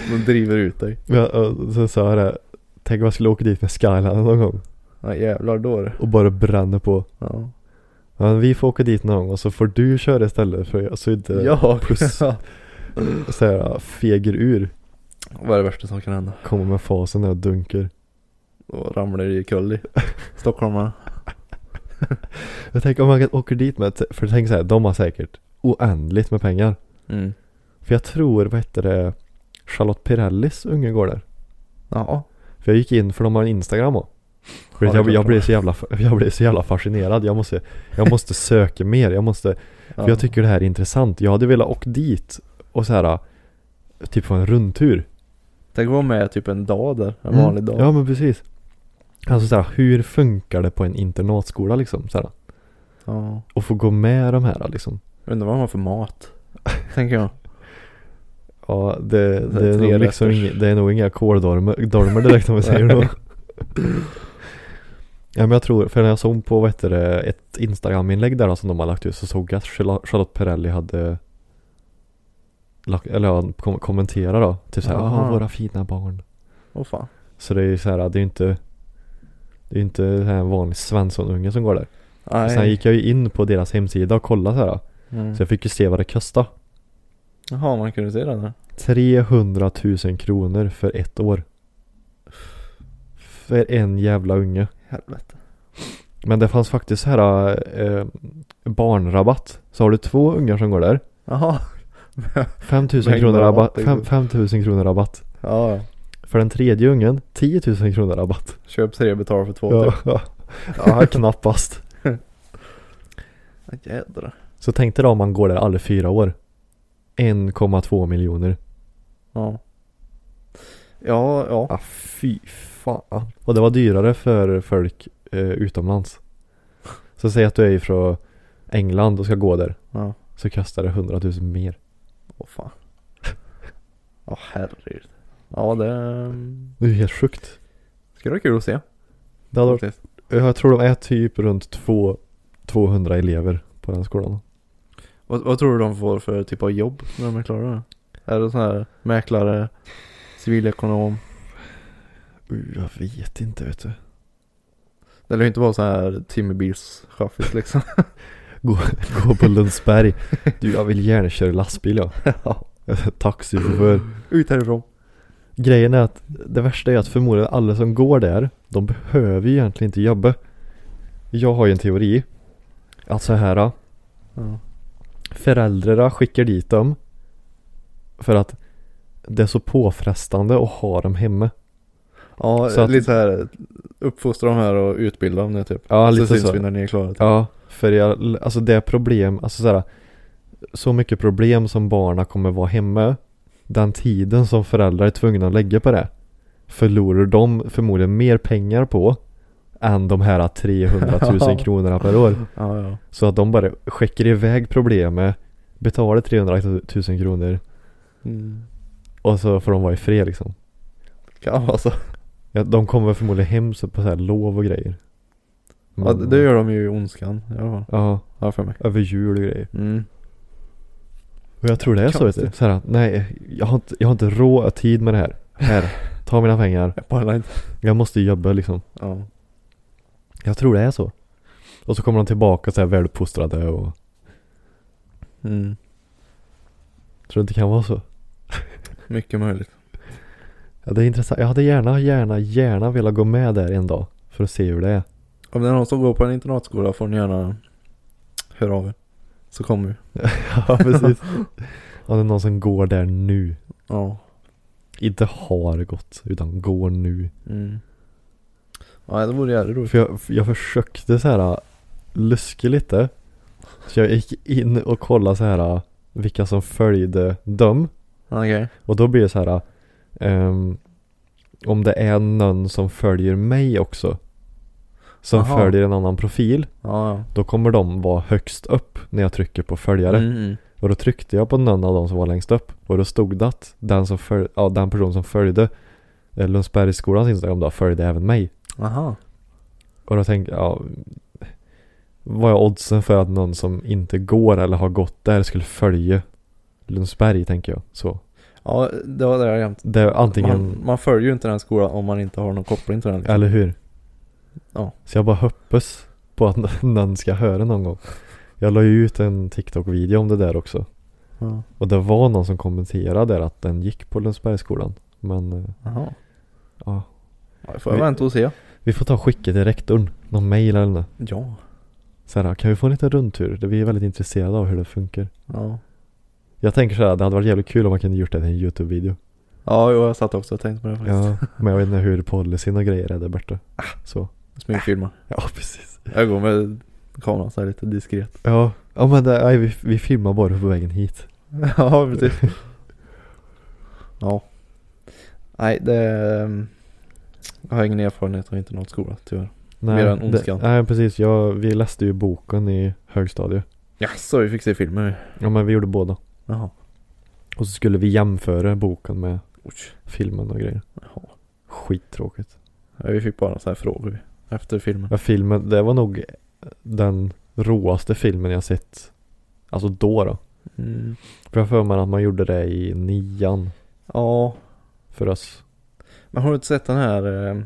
Speaker 2: De driver ut dig.
Speaker 1: Ja, och så sa jag det. Tänk om jag skulle åka dit med Skyline någon gång
Speaker 2: Ja jävlar då är det.
Speaker 1: och bara bränna på.
Speaker 2: Ja.
Speaker 1: Ja, vi får åka dit någon gång och så får du köra istället för jag så inte
Speaker 2: Ja,
Speaker 1: plus så här, feger ur.
Speaker 2: Vad är det värsta som kan hända?
Speaker 1: Kommer med fasen när jag dunkar.
Speaker 2: Och ramlar i kull i Stockholmarna.
Speaker 1: Jag tänker om man åker dit med, för tänk så här, de har säkert oändligt med pengar.
Speaker 2: Mm.
Speaker 1: För jag tror, vad heter det, Charlotte Pirellis unge går där.
Speaker 2: Ja.
Speaker 1: För jag gick in för de har en Instagram och. För
Speaker 2: Ja, det är
Speaker 1: jag, jag,
Speaker 2: klart.
Speaker 1: blev så jävla, jag blev så jävla fascinerad. Jag måste, jag måste söka mer. Jag måste För jag tycker det här är intressant. Jag hade velat åka dit och så här typ få en rundtur.
Speaker 2: Tänk att vara med typ en dag där. En vanlig dag.
Speaker 1: Mm. Ja men precis. Alltså så här, hur funkar det på en internatskola liksom? Så här,
Speaker 2: ja.
Speaker 1: och få gå med de här liksom.
Speaker 2: Undrar vad man har för mat. Tänker jag.
Speaker 1: Ja, det,
Speaker 2: Så här,
Speaker 1: det, är,
Speaker 2: tre
Speaker 1: nog liksom
Speaker 2: rätters.
Speaker 1: inga, det är nog inga kåldolmar dolmar direkt om vi säger så. Ja men jag tror, för när jag såg på vad heter alltså, det, ett Instagram-inlägg där då, som de har lagt ut så såg jag att Charlotte Perrelli hade lagt, eller ja, kom, kommentera då. Typ såhär,
Speaker 2: Aha.
Speaker 1: ah våra fina barn.
Speaker 2: Åh fan.
Speaker 1: Så det är ju såhär, det är ju inte Det är ju inte så här en vanlig svenssonunge som går där.
Speaker 2: Nej.
Speaker 1: Sen gick jag ju in på deras hemsida och kollade såhär.
Speaker 2: Mm.
Speaker 1: Så jag fick ju se vad det kostade.
Speaker 2: Jaha, man kunde se den här.
Speaker 1: 300 000 kronor för ett år. För en jävla unge.
Speaker 2: Helvete.
Speaker 1: Men det fanns faktiskt så här eh, barnrabatt. Så har du två ungar som går där.
Speaker 2: Jaha.
Speaker 1: 5 000
Speaker 2: Mängd
Speaker 1: kronor
Speaker 2: rabatt,
Speaker 1: rabatt.
Speaker 2: det är
Speaker 1: fem-
Speaker 2: gott.
Speaker 1: 5 000 kronor rabatt.
Speaker 2: Ja, ja.
Speaker 1: För den tredje ungen, 10 000 kronor rabatt.
Speaker 2: Köp tre, betala för två
Speaker 1: Ja,
Speaker 2: typ.
Speaker 1: ja. ja knappast.
Speaker 2: Ja, Jädrar.
Speaker 1: Så tänk dig då om man går där alla fyra år. 1,2 miljoner.
Speaker 2: Ja. Ja, ja.
Speaker 1: Ja, Ah, fy fan. Och det var dyrare för folk eh, utomlands. Så säg att du är från England och ska gå där.
Speaker 2: Ja.
Speaker 1: Så kostar det 100 000 mer.
Speaker 2: Åh fan. Ja herregud. Ja det mm,
Speaker 1: Det är ju helt sjukt.
Speaker 2: skulle vara kul att se.
Speaker 1: Det hade varit
Speaker 2: faktiskt.
Speaker 1: Jag tror de är typ runt två, 200 elever på den skolan.
Speaker 2: Vad, vad tror du de får för typ av jobb när de är klara? med det? Är det sån här mäklare, civilekonom?
Speaker 1: Uh, jag vet inte vet du.
Speaker 2: Det lär ju inte vara sån här timmerbilschaffis liksom.
Speaker 1: Gå, gå på Lundsberg. Du, jag vill gärna köra lastbil ja. Taxichaufför.
Speaker 2: Ut härifrån.
Speaker 1: Grejen är att det värsta är att förmodligen alla som går där, de behöver ju egentligen inte jobba. Jag har ju en teori. Att så här. då,
Speaker 2: Ja.
Speaker 1: Föräldrarna skickar dit dem. För att det är så påfrestande att ha dem hemma.
Speaker 2: Ja,
Speaker 1: Så att-
Speaker 2: lite så här uppfostra dem här och utbilda dem nu typ.
Speaker 1: Ja, lite
Speaker 2: så. syns
Speaker 1: så.
Speaker 2: vi när ni är klara. Typ.
Speaker 1: Ja, för jag, alltså det är problem, alltså så här, så mycket problem som barna kommer vara hemma, den tiden som föräldrar är tvungna att lägga på det, förlorar de förmodligen mer pengar på än de här 300 000 kronorna per år.
Speaker 2: Ja, ja.
Speaker 1: Så att de bara skickar iväg problemet, betalar 300 000 kronor
Speaker 2: Mm.
Speaker 1: och så får de vara i fred liksom.
Speaker 2: Kan vara så.
Speaker 1: Ja, de kommer förmodligen hem så på så här lov och grejer. Mm.
Speaker 2: Ja, det det gör de ju i ondskan i alla fall.
Speaker 1: Ja,
Speaker 2: Har jag för mig.
Speaker 1: över jul och grejer.
Speaker 2: Mm.
Speaker 1: Och jag tror det är så vet du.
Speaker 2: Konstigt.
Speaker 1: Så här, nej, jag har, inte, jag har inte råd att tid med det här. Här, ta mina pengar.
Speaker 2: Jag pallar inte.
Speaker 1: Jag måste jobba liksom.
Speaker 2: Ja.
Speaker 1: Jag tror det är så. Och så kommer de tillbaka så här väluppfostrade och...
Speaker 2: Mm.
Speaker 1: Tror du inte det kan vara så?
Speaker 2: Mycket möjligt.
Speaker 1: Ja, det är intressant. Jag hade gärna, gärna, gärna velat gå med där en dag. För att se hur det är.
Speaker 2: Om det är någon som går på en internatskola får ni gärna höra av er. Så kommer vi.
Speaker 1: Ja, precis. Om det är någon som går där nu.
Speaker 2: Ja.
Speaker 1: Inte har gått, utan går nu.
Speaker 2: Mm. Ja, det vore jävligt roligt.
Speaker 1: För jag, för jag försökte så här äh, luska lite. Så jag gick in och kollade så här äh, vilka som följde dem.
Speaker 2: Okej.
Speaker 1: Och då blir det så här ehm, om det är någon som följer mig också. Som
Speaker 2: Aha.
Speaker 1: följer en annan profil.
Speaker 2: Ja,
Speaker 1: Då kommer de vara högst upp när jag trycker på
Speaker 2: ja.
Speaker 1: följare.
Speaker 2: Mm, mm.
Speaker 1: Och då tryckte jag på någon av dem som var längst upp. Och då stod det att den, som följ, ja, den person som följde eh, Lundsbergsskolans Instagram då följde även mig.
Speaker 2: Aha.
Speaker 1: Och då tänkte jag, ja, vad är oddsen för att någon som inte går eller har gått där skulle följa Lundsberg tänker jag. Så
Speaker 2: Ja, det var det jag jämt.
Speaker 1: det är antingen,
Speaker 2: Man, man följer ju inte den skolan om man inte har någon koppling till den. Liksom.
Speaker 1: eller hur?
Speaker 2: Ja.
Speaker 1: Så jag bara hoppas på att någon ska höra någon gång. Jag la ju ut en TikTok-video om det där också.
Speaker 2: Ja.
Speaker 1: Och det var någon som kommenterade där att den gick på Lundsbergsskolan. Men eh,
Speaker 2: Aha.
Speaker 1: ja,
Speaker 2: Ja, det får jag
Speaker 1: Vi-
Speaker 2: vänta och se.
Speaker 1: vi får ta och skicka till rektorn, någon mail eller något.
Speaker 2: Ja.
Speaker 1: Så här, kan vi få en liten rundtur? Det- Vi är väldigt intresserade av hur det funkar.
Speaker 2: Ja.
Speaker 1: Jag tänker så här, det hade varit jävligt kul om man kunde gjort det till en YouTube-video.
Speaker 2: Ja, jo, jag satt också och tänkte på det faktiskt.
Speaker 1: Ja, men jag vet inte hur policyn och grejer är där borta. Så.
Speaker 2: Smygfilma.
Speaker 1: Ja, precis.
Speaker 2: Jag går med kameran så här lite diskret.
Speaker 1: Ja, ja men det, nej, vi, vi filmar bara på vägen hit.
Speaker 2: ja, precis. ja. Nej, det... ehm, Jag har ingen erfarenhet av internatskola tyvärr. Mer än ondskan.
Speaker 1: det, nej, precis. Jag, vi läste ju boken i högstadiet.
Speaker 2: Jaså, vi fick se filmer vi.
Speaker 1: Ja, men vi gjorde båda.
Speaker 2: Jaha.
Speaker 1: Och så skulle vi jämföra boken med
Speaker 2: Oj.
Speaker 1: filmen och grejer.
Speaker 2: Jaha.
Speaker 1: Skittråkigt.
Speaker 2: Ja, vi fick bara så här frågor vi- efter filmen.
Speaker 1: Ja, filmen, det var nog den råaste filmen jag sett. Alltså då då.
Speaker 2: Mm.
Speaker 1: För jag har för mig att man gjorde det i nian
Speaker 2: Ja,
Speaker 1: för oss.
Speaker 2: men har du inte sett den här, eh,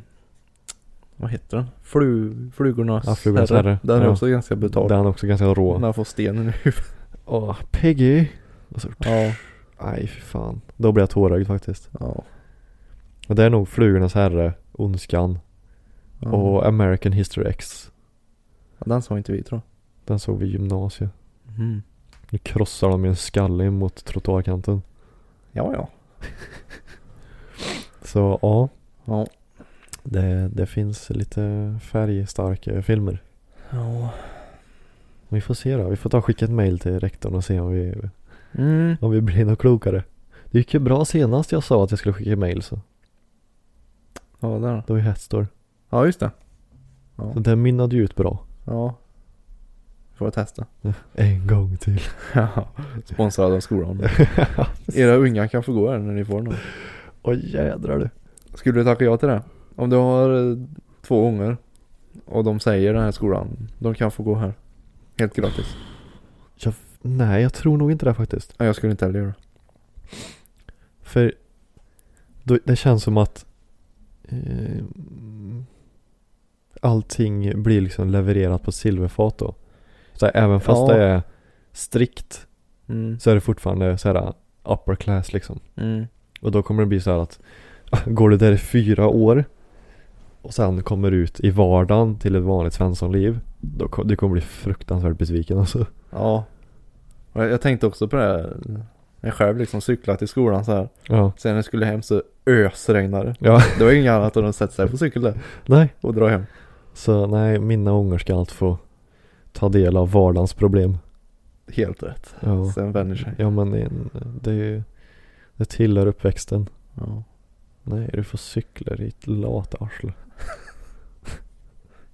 Speaker 2: vad heter den? Flu, flugornas
Speaker 1: Ja, Flugornas herre.
Speaker 2: Den är
Speaker 1: Ja.
Speaker 2: också ganska brutal.
Speaker 1: Den är också ganska rå.
Speaker 2: När han får stenen i huvudet.
Speaker 1: Åh, Peggy! Och så,
Speaker 2: Ja,
Speaker 1: aj fy fan. Då blir jag tårögd faktiskt.
Speaker 2: ja.
Speaker 1: Och det är nog Flugornas Herre, Ondskan
Speaker 2: ja.
Speaker 1: och eh, American History X.
Speaker 2: Ja, den såg inte vi tror
Speaker 1: Den såg vi i gymnasiet.
Speaker 2: jag. Mm.
Speaker 1: Nu krossar de med en skalle mot trottoarkanten.
Speaker 2: Ja, ja.
Speaker 1: Så ja,
Speaker 2: Ja.
Speaker 1: det, det finns lite färgstarka filmer.
Speaker 2: ja.
Speaker 1: Vi får se då. Vi får ta och skicka ett mail till rektorn och se om vi,
Speaker 2: Mm.
Speaker 1: om vi blir något klokare. Det gick ju bra senast jag sa att jag skulle skicka mail så.
Speaker 2: Ja, där.
Speaker 1: Det var ju Hetstor.
Speaker 2: Ja, just det.
Speaker 1: Så den mynnade ju ut bra.
Speaker 2: Ja. Får jag testa.
Speaker 1: En gång till.
Speaker 2: Ja. Sponsrad av skolan. Era unga kan få gå här när ni får någon.
Speaker 1: Åh jädrar du.
Speaker 2: Skulle du tacka ja till det? Om du har eh, två gånger och de säger den här skolan, de kan få gå här. Helt gratis.
Speaker 1: Jag, nej, jag tror nog inte det faktiskt.
Speaker 2: Ja, jag skulle inte heller göra det.
Speaker 1: För då, det känns som att eh, allting blir liksom levererat på silverfat då. Så här, även fast
Speaker 2: Ja.
Speaker 1: det är strikt
Speaker 2: Mm.
Speaker 1: så är det fortfarande så här uh, upper class liksom.
Speaker 2: Mm.
Speaker 1: Och då kommer det bli så här att går du där i fyra år och sen kommer du ut i vardagen till ett vanligt svenssonliv. Då ko- du kommer bli fruktansvärt besviken alltså.
Speaker 2: Ja. Och jag, jag tänkte också på det här. Jag själv liksom cyklade till skolan så här.
Speaker 1: Ja.
Speaker 2: Sen när jag skulle hem så ösregnade det.
Speaker 1: Ja,
Speaker 2: Det var inget annat än att sätta sig på cykel där
Speaker 1: nej.
Speaker 2: och dra hem.
Speaker 1: Så nej, mina ungar ska allt få ta del av vardagens problem.
Speaker 2: Helt rätt.
Speaker 1: Ja.
Speaker 2: Sen vänjer sig.
Speaker 1: Ja men det är en- det är ju Det tillhör uppväxten
Speaker 2: Ja.
Speaker 1: Nej du får cykla ditt lata arsle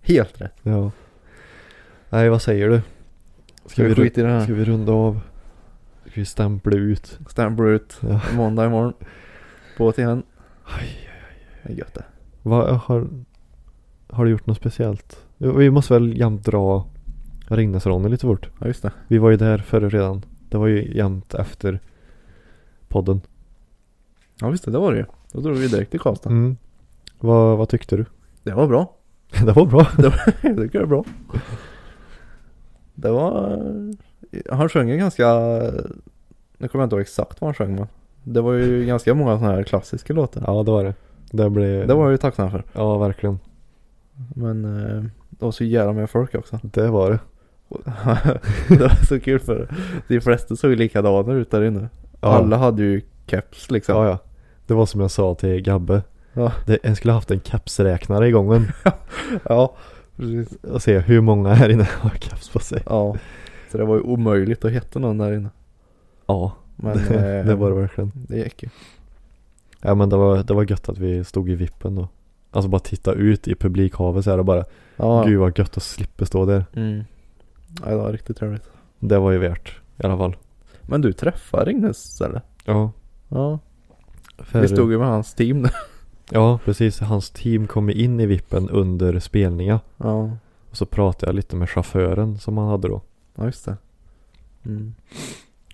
Speaker 2: Helt rätt.
Speaker 1: Ja Nej vad säger du?
Speaker 2: Ska vi
Speaker 1: ru-
Speaker 2: skita i det här?
Speaker 1: ska vi runda av? Ska vi stämpla ut?
Speaker 2: Stamp Brut,
Speaker 1: Ja.
Speaker 2: måndag imorgon. Båt igen. Det är gött det.
Speaker 1: Vad har Har du gjort något speciellt? Vi måste väl jämt dra Ringnesronny lite fort
Speaker 2: Ja just det.
Speaker 1: Vi var ju där förr redan Det var ju jämt efter podden
Speaker 2: Ja visst det, det var det ju. Då drog vi direkt till Karlstad.
Speaker 1: mm. vad, vad tyckte du?
Speaker 2: Det var bra.
Speaker 1: det var bra
Speaker 2: Jag tycker det är bra. Det var... Han sjöng ju ganska... Nu kommer jag inte ihåg exakt vad han sjöng men. Det var ju ganska många sådana här klassiska låtar.
Speaker 1: Ja det var det Det blev
Speaker 2: Det var jag ju tacksam för.
Speaker 1: Ja verkligen
Speaker 2: Men eh, det var så jävla med folk också.
Speaker 1: Det var det
Speaker 2: det var så kul för de flesta såg ju likadana ut där inne. Alla hade ju keps liksom.
Speaker 1: Ja, ja. Det var som jag sa till Gabbe.
Speaker 2: Ja.
Speaker 1: Det, jag skulle haft en kapsräknare igång
Speaker 2: Ja, precis.
Speaker 1: och se hur många här inne har kaps på sig.
Speaker 2: Ja. Så det var ju omöjligt att hitta någon där inne.
Speaker 1: Ja,
Speaker 2: Men
Speaker 1: det,
Speaker 2: eh,
Speaker 1: det var det verkligen.
Speaker 2: det gick ju.
Speaker 1: Ja men det var, det var gött att vi stod i vippen då. Alltså bara titta ut i publikhavet så här och bara
Speaker 2: Ja,
Speaker 1: Gud vad gött att slippa stå där.
Speaker 2: Mm. ja det var riktigt trevligt.
Speaker 1: Det var ju värt i alla fall.
Speaker 2: Men du träffade Ringnes eller?
Speaker 1: Ja.
Speaker 2: Ja.
Speaker 1: För,
Speaker 2: Vi stod ju med hans team där.
Speaker 1: Ja precis, hans team kom ju in i vippen under spelningar.
Speaker 2: Ja,
Speaker 1: Och så pratade jag lite med chauffören som han hade då.
Speaker 2: ja just det. Mm.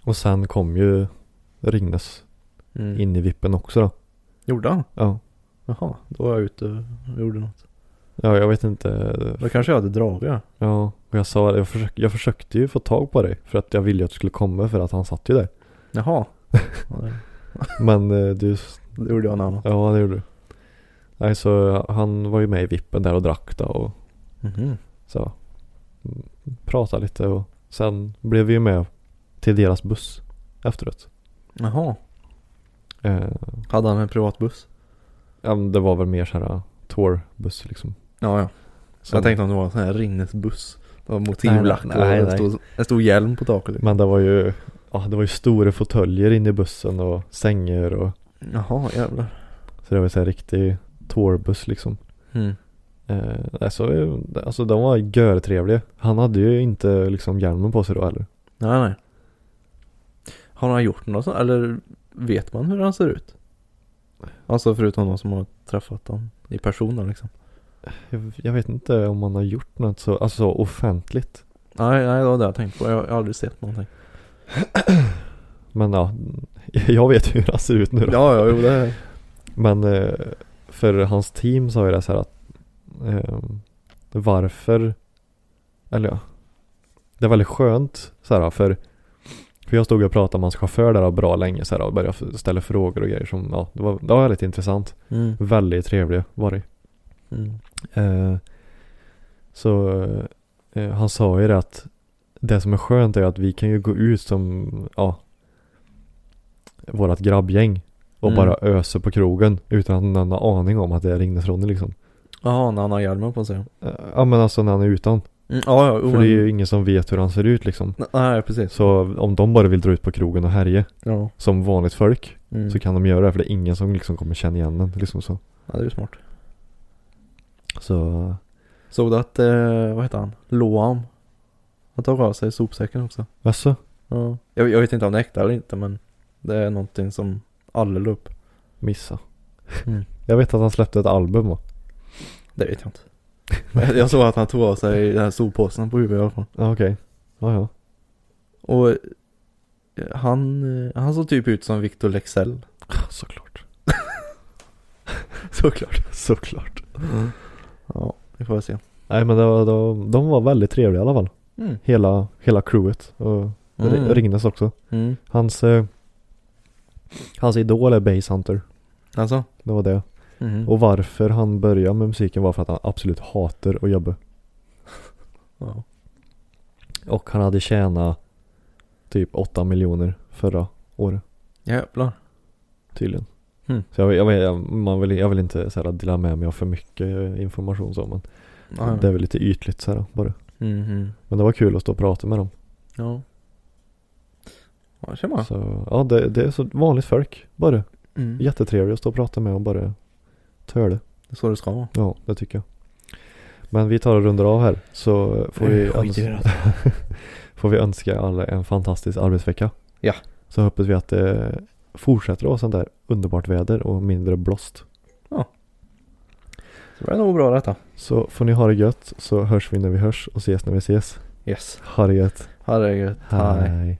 Speaker 1: Och sen kom ju Ringnes
Speaker 2: Mm.
Speaker 1: in i vippen också då.
Speaker 2: Gjorde han?
Speaker 1: Ja.
Speaker 2: Jaha, då var jag ute och gjorde något.
Speaker 1: Ja, jag vet inte.
Speaker 2: Då kanske jag hade dragit. ja.
Speaker 1: Ja, och jag sa jag, försök, jag försökte ju få tag på dig för att jag ville ju att du skulle komma för att han satt ju där.
Speaker 2: Jaha. Ja, det-
Speaker 1: Men eh, du,
Speaker 2: Det gjorde jag en annan.
Speaker 1: ja det gjorde du. Nej, så han var ju med i vippen där och drack då och
Speaker 2: Mhm.
Speaker 1: så mm, pratade lite och sen blev vi ju med till deras buss efteråt.
Speaker 2: Jaha.
Speaker 1: Eh,
Speaker 2: Hade han en privatbuss?
Speaker 1: ja, men det var väl mer så här tourbuss liksom.
Speaker 2: Ja, Mm. ja.
Speaker 1: Som-
Speaker 2: Jag tänkte om det var en sån här Ringnesbuss. Det var motivlack
Speaker 1: Nej,
Speaker 2: och
Speaker 1: nej, nej,
Speaker 2: en
Speaker 1: nej.
Speaker 2: stor, en stor hjälm på taket. liksom.
Speaker 1: Men det var ju, ja det var ju stora fåtöljer inne i bussen och sängar och
Speaker 2: Jaha, jävlar.
Speaker 1: så det var ju så här riktig tourbuss liksom.
Speaker 2: Mm.
Speaker 1: Eh, alltså, alltså de var görtrevliga. Han hade ju inte liksom hjälmen på sig då heller.
Speaker 2: Nej, nej. Har han gjort något sånt? Eller vet man hur han ser ut? Alltså förutom de som har träffat honom i personen liksom.
Speaker 1: Jag, jag vet inte om han har gjort något så, alltså offentligt.
Speaker 2: Nej, nej det var det jag tänkte på. Jag har aldrig sett någonting.
Speaker 1: Men ja, jag vet ju hur han ser ut nu då.
Speaker 2: Ja, ja, jo det är...
Speaker 1: Men eh, för hans team sa ju det så här att eh, varför, eller ja, det är väldigt skönt så här för, för jag stod och pratade med hans chaufför där bra länge så här och började f- ställa frågor och grejer som, ja, det var, det var väldigt intressant.
Speaker 2: Mm.
Speaker 1: Väldigt trevlig var det.
Speaker 2: Mm.
Speaker 1: Eh, så eh, han sa ju det att det som är skönt är att vi kan ju gå ut som, ja, vårat grabbgäng och
Speaker 2: Mm.
Speaker 1: bara ösa på krogen utan att någon har aning om att det är Ringnes Ronny liksom.
Speaker 2: Jaha, när han har hjälmen på sig. Mm,
Speaker 1: Eh, Ja men alltså när han är utan.
Speaker 2: ja, ja, jo,
Speaker 1: För det är
Speaker 2: men-
Speaker 1: ju ingen som vet hur han ser ut liksom.
Speaker 2: Nej, precis.
Speaker 1: Så om de bara vill dra ut på krogen och härja
Speaker 2: Ja.
Speaker 1: som vanligt folk
Speaker 2: Mm.
Speaker 1: så kan de göra det för det är ingen som liksom kommer känna igen den liksom så.
Speaker 2: ja, det är ju smart.
Speaker 1: Så
Speaker 2: Såg du att, eh, vad heter han? Loam. Han tog av sig sopsäcken också.
Speaker 1: Jaså?
Speaker 2: Ja. Jag, jag vet inte om det är äkta eller inte men det är någonting som alla la upp.
Speaker 1: missa.
Speaker 2: Mm.
Speaker 1: Jag vet att han släppte ett album va?
Speaker 2: Det vet jag inte. Men jag såg att han tog av sig den här soppåsen på huvudet i alla fall.
Speaker 1: Ja okej. Ja ja.
Speaker 2: Och eh, han, eh, han såg typ ut som Victor Lexell.
Speaker 1: Såklart.
Speaker 2: Såklart.
Speaker 1: Såklart.
Speaker 2: Ja, vi får väl se.
Speaker 1: Nej men det var, de, de var väldigt trevliga i alla fall.
Speaker 2: Mm.
Speaker 1: Hela, hela crewet. Och mm. Ringnes också.
Speaker 2: Mm.
Speaker 1: Hans, eh, hans idol är Base Hunter.
Speaker 2: Alltså?
Speaker 1: Det var det.
Speaker 2: Mm.
Speaker 1: Och varför han började med musiken var för att han absolut hatar att jobba.
Speaker 2: Ja.
Speaker 1: Och han hade tjänat typ 8 miljoner förra året
Speaker 2: Jävlar.
Speaker 1: tydligen.
Speaker 2: Mm.
Speaker 1: Så jag, jag, vet- jag, man vill, jag vill inte så här, dela med mig av för mycket eh, information så men
Speaker 2: Ja,
Speaker 1: det är
Speaker 2: ja.
Speaker 1: väl lite ytligt så här bara.
Speaker 2: Mhm.
Speaker 1: Men det var kul att stå och prata med dem.
Speaker 2: Ja. Ja, tjena.
Speaker 1: Så ja, det, det är så vanligt folk bara.
Speaker 2: Mm.
Speaker 1: Jättetrevligt att stå och prata med och bara töle.
Speaker 2: Det är så det ska vara.
Speaker 1: Ja, det tycker jag. Men vi tar och rundar av här så får vi,
Speaker 2: Eh, skit i det
Speaker 1: öns- får vi önska alla en fantastisk arbetsvecka.
Speaker 2: Ja.
Speaker 1: Så hoppas vi att det fortsätter att vara sånt där underbart väder och mindre blåst.
Speaker 2: Så det är nog bra detta.
Speaker 1: Så får ni ha det gött så hörs vi när vi hörs och ses när vi ses.
Speaker 2: Yes.
Speaker 1: Ha det gött.
Speaker 2: Ha det gött. Hej.
Speaker 1: Hej.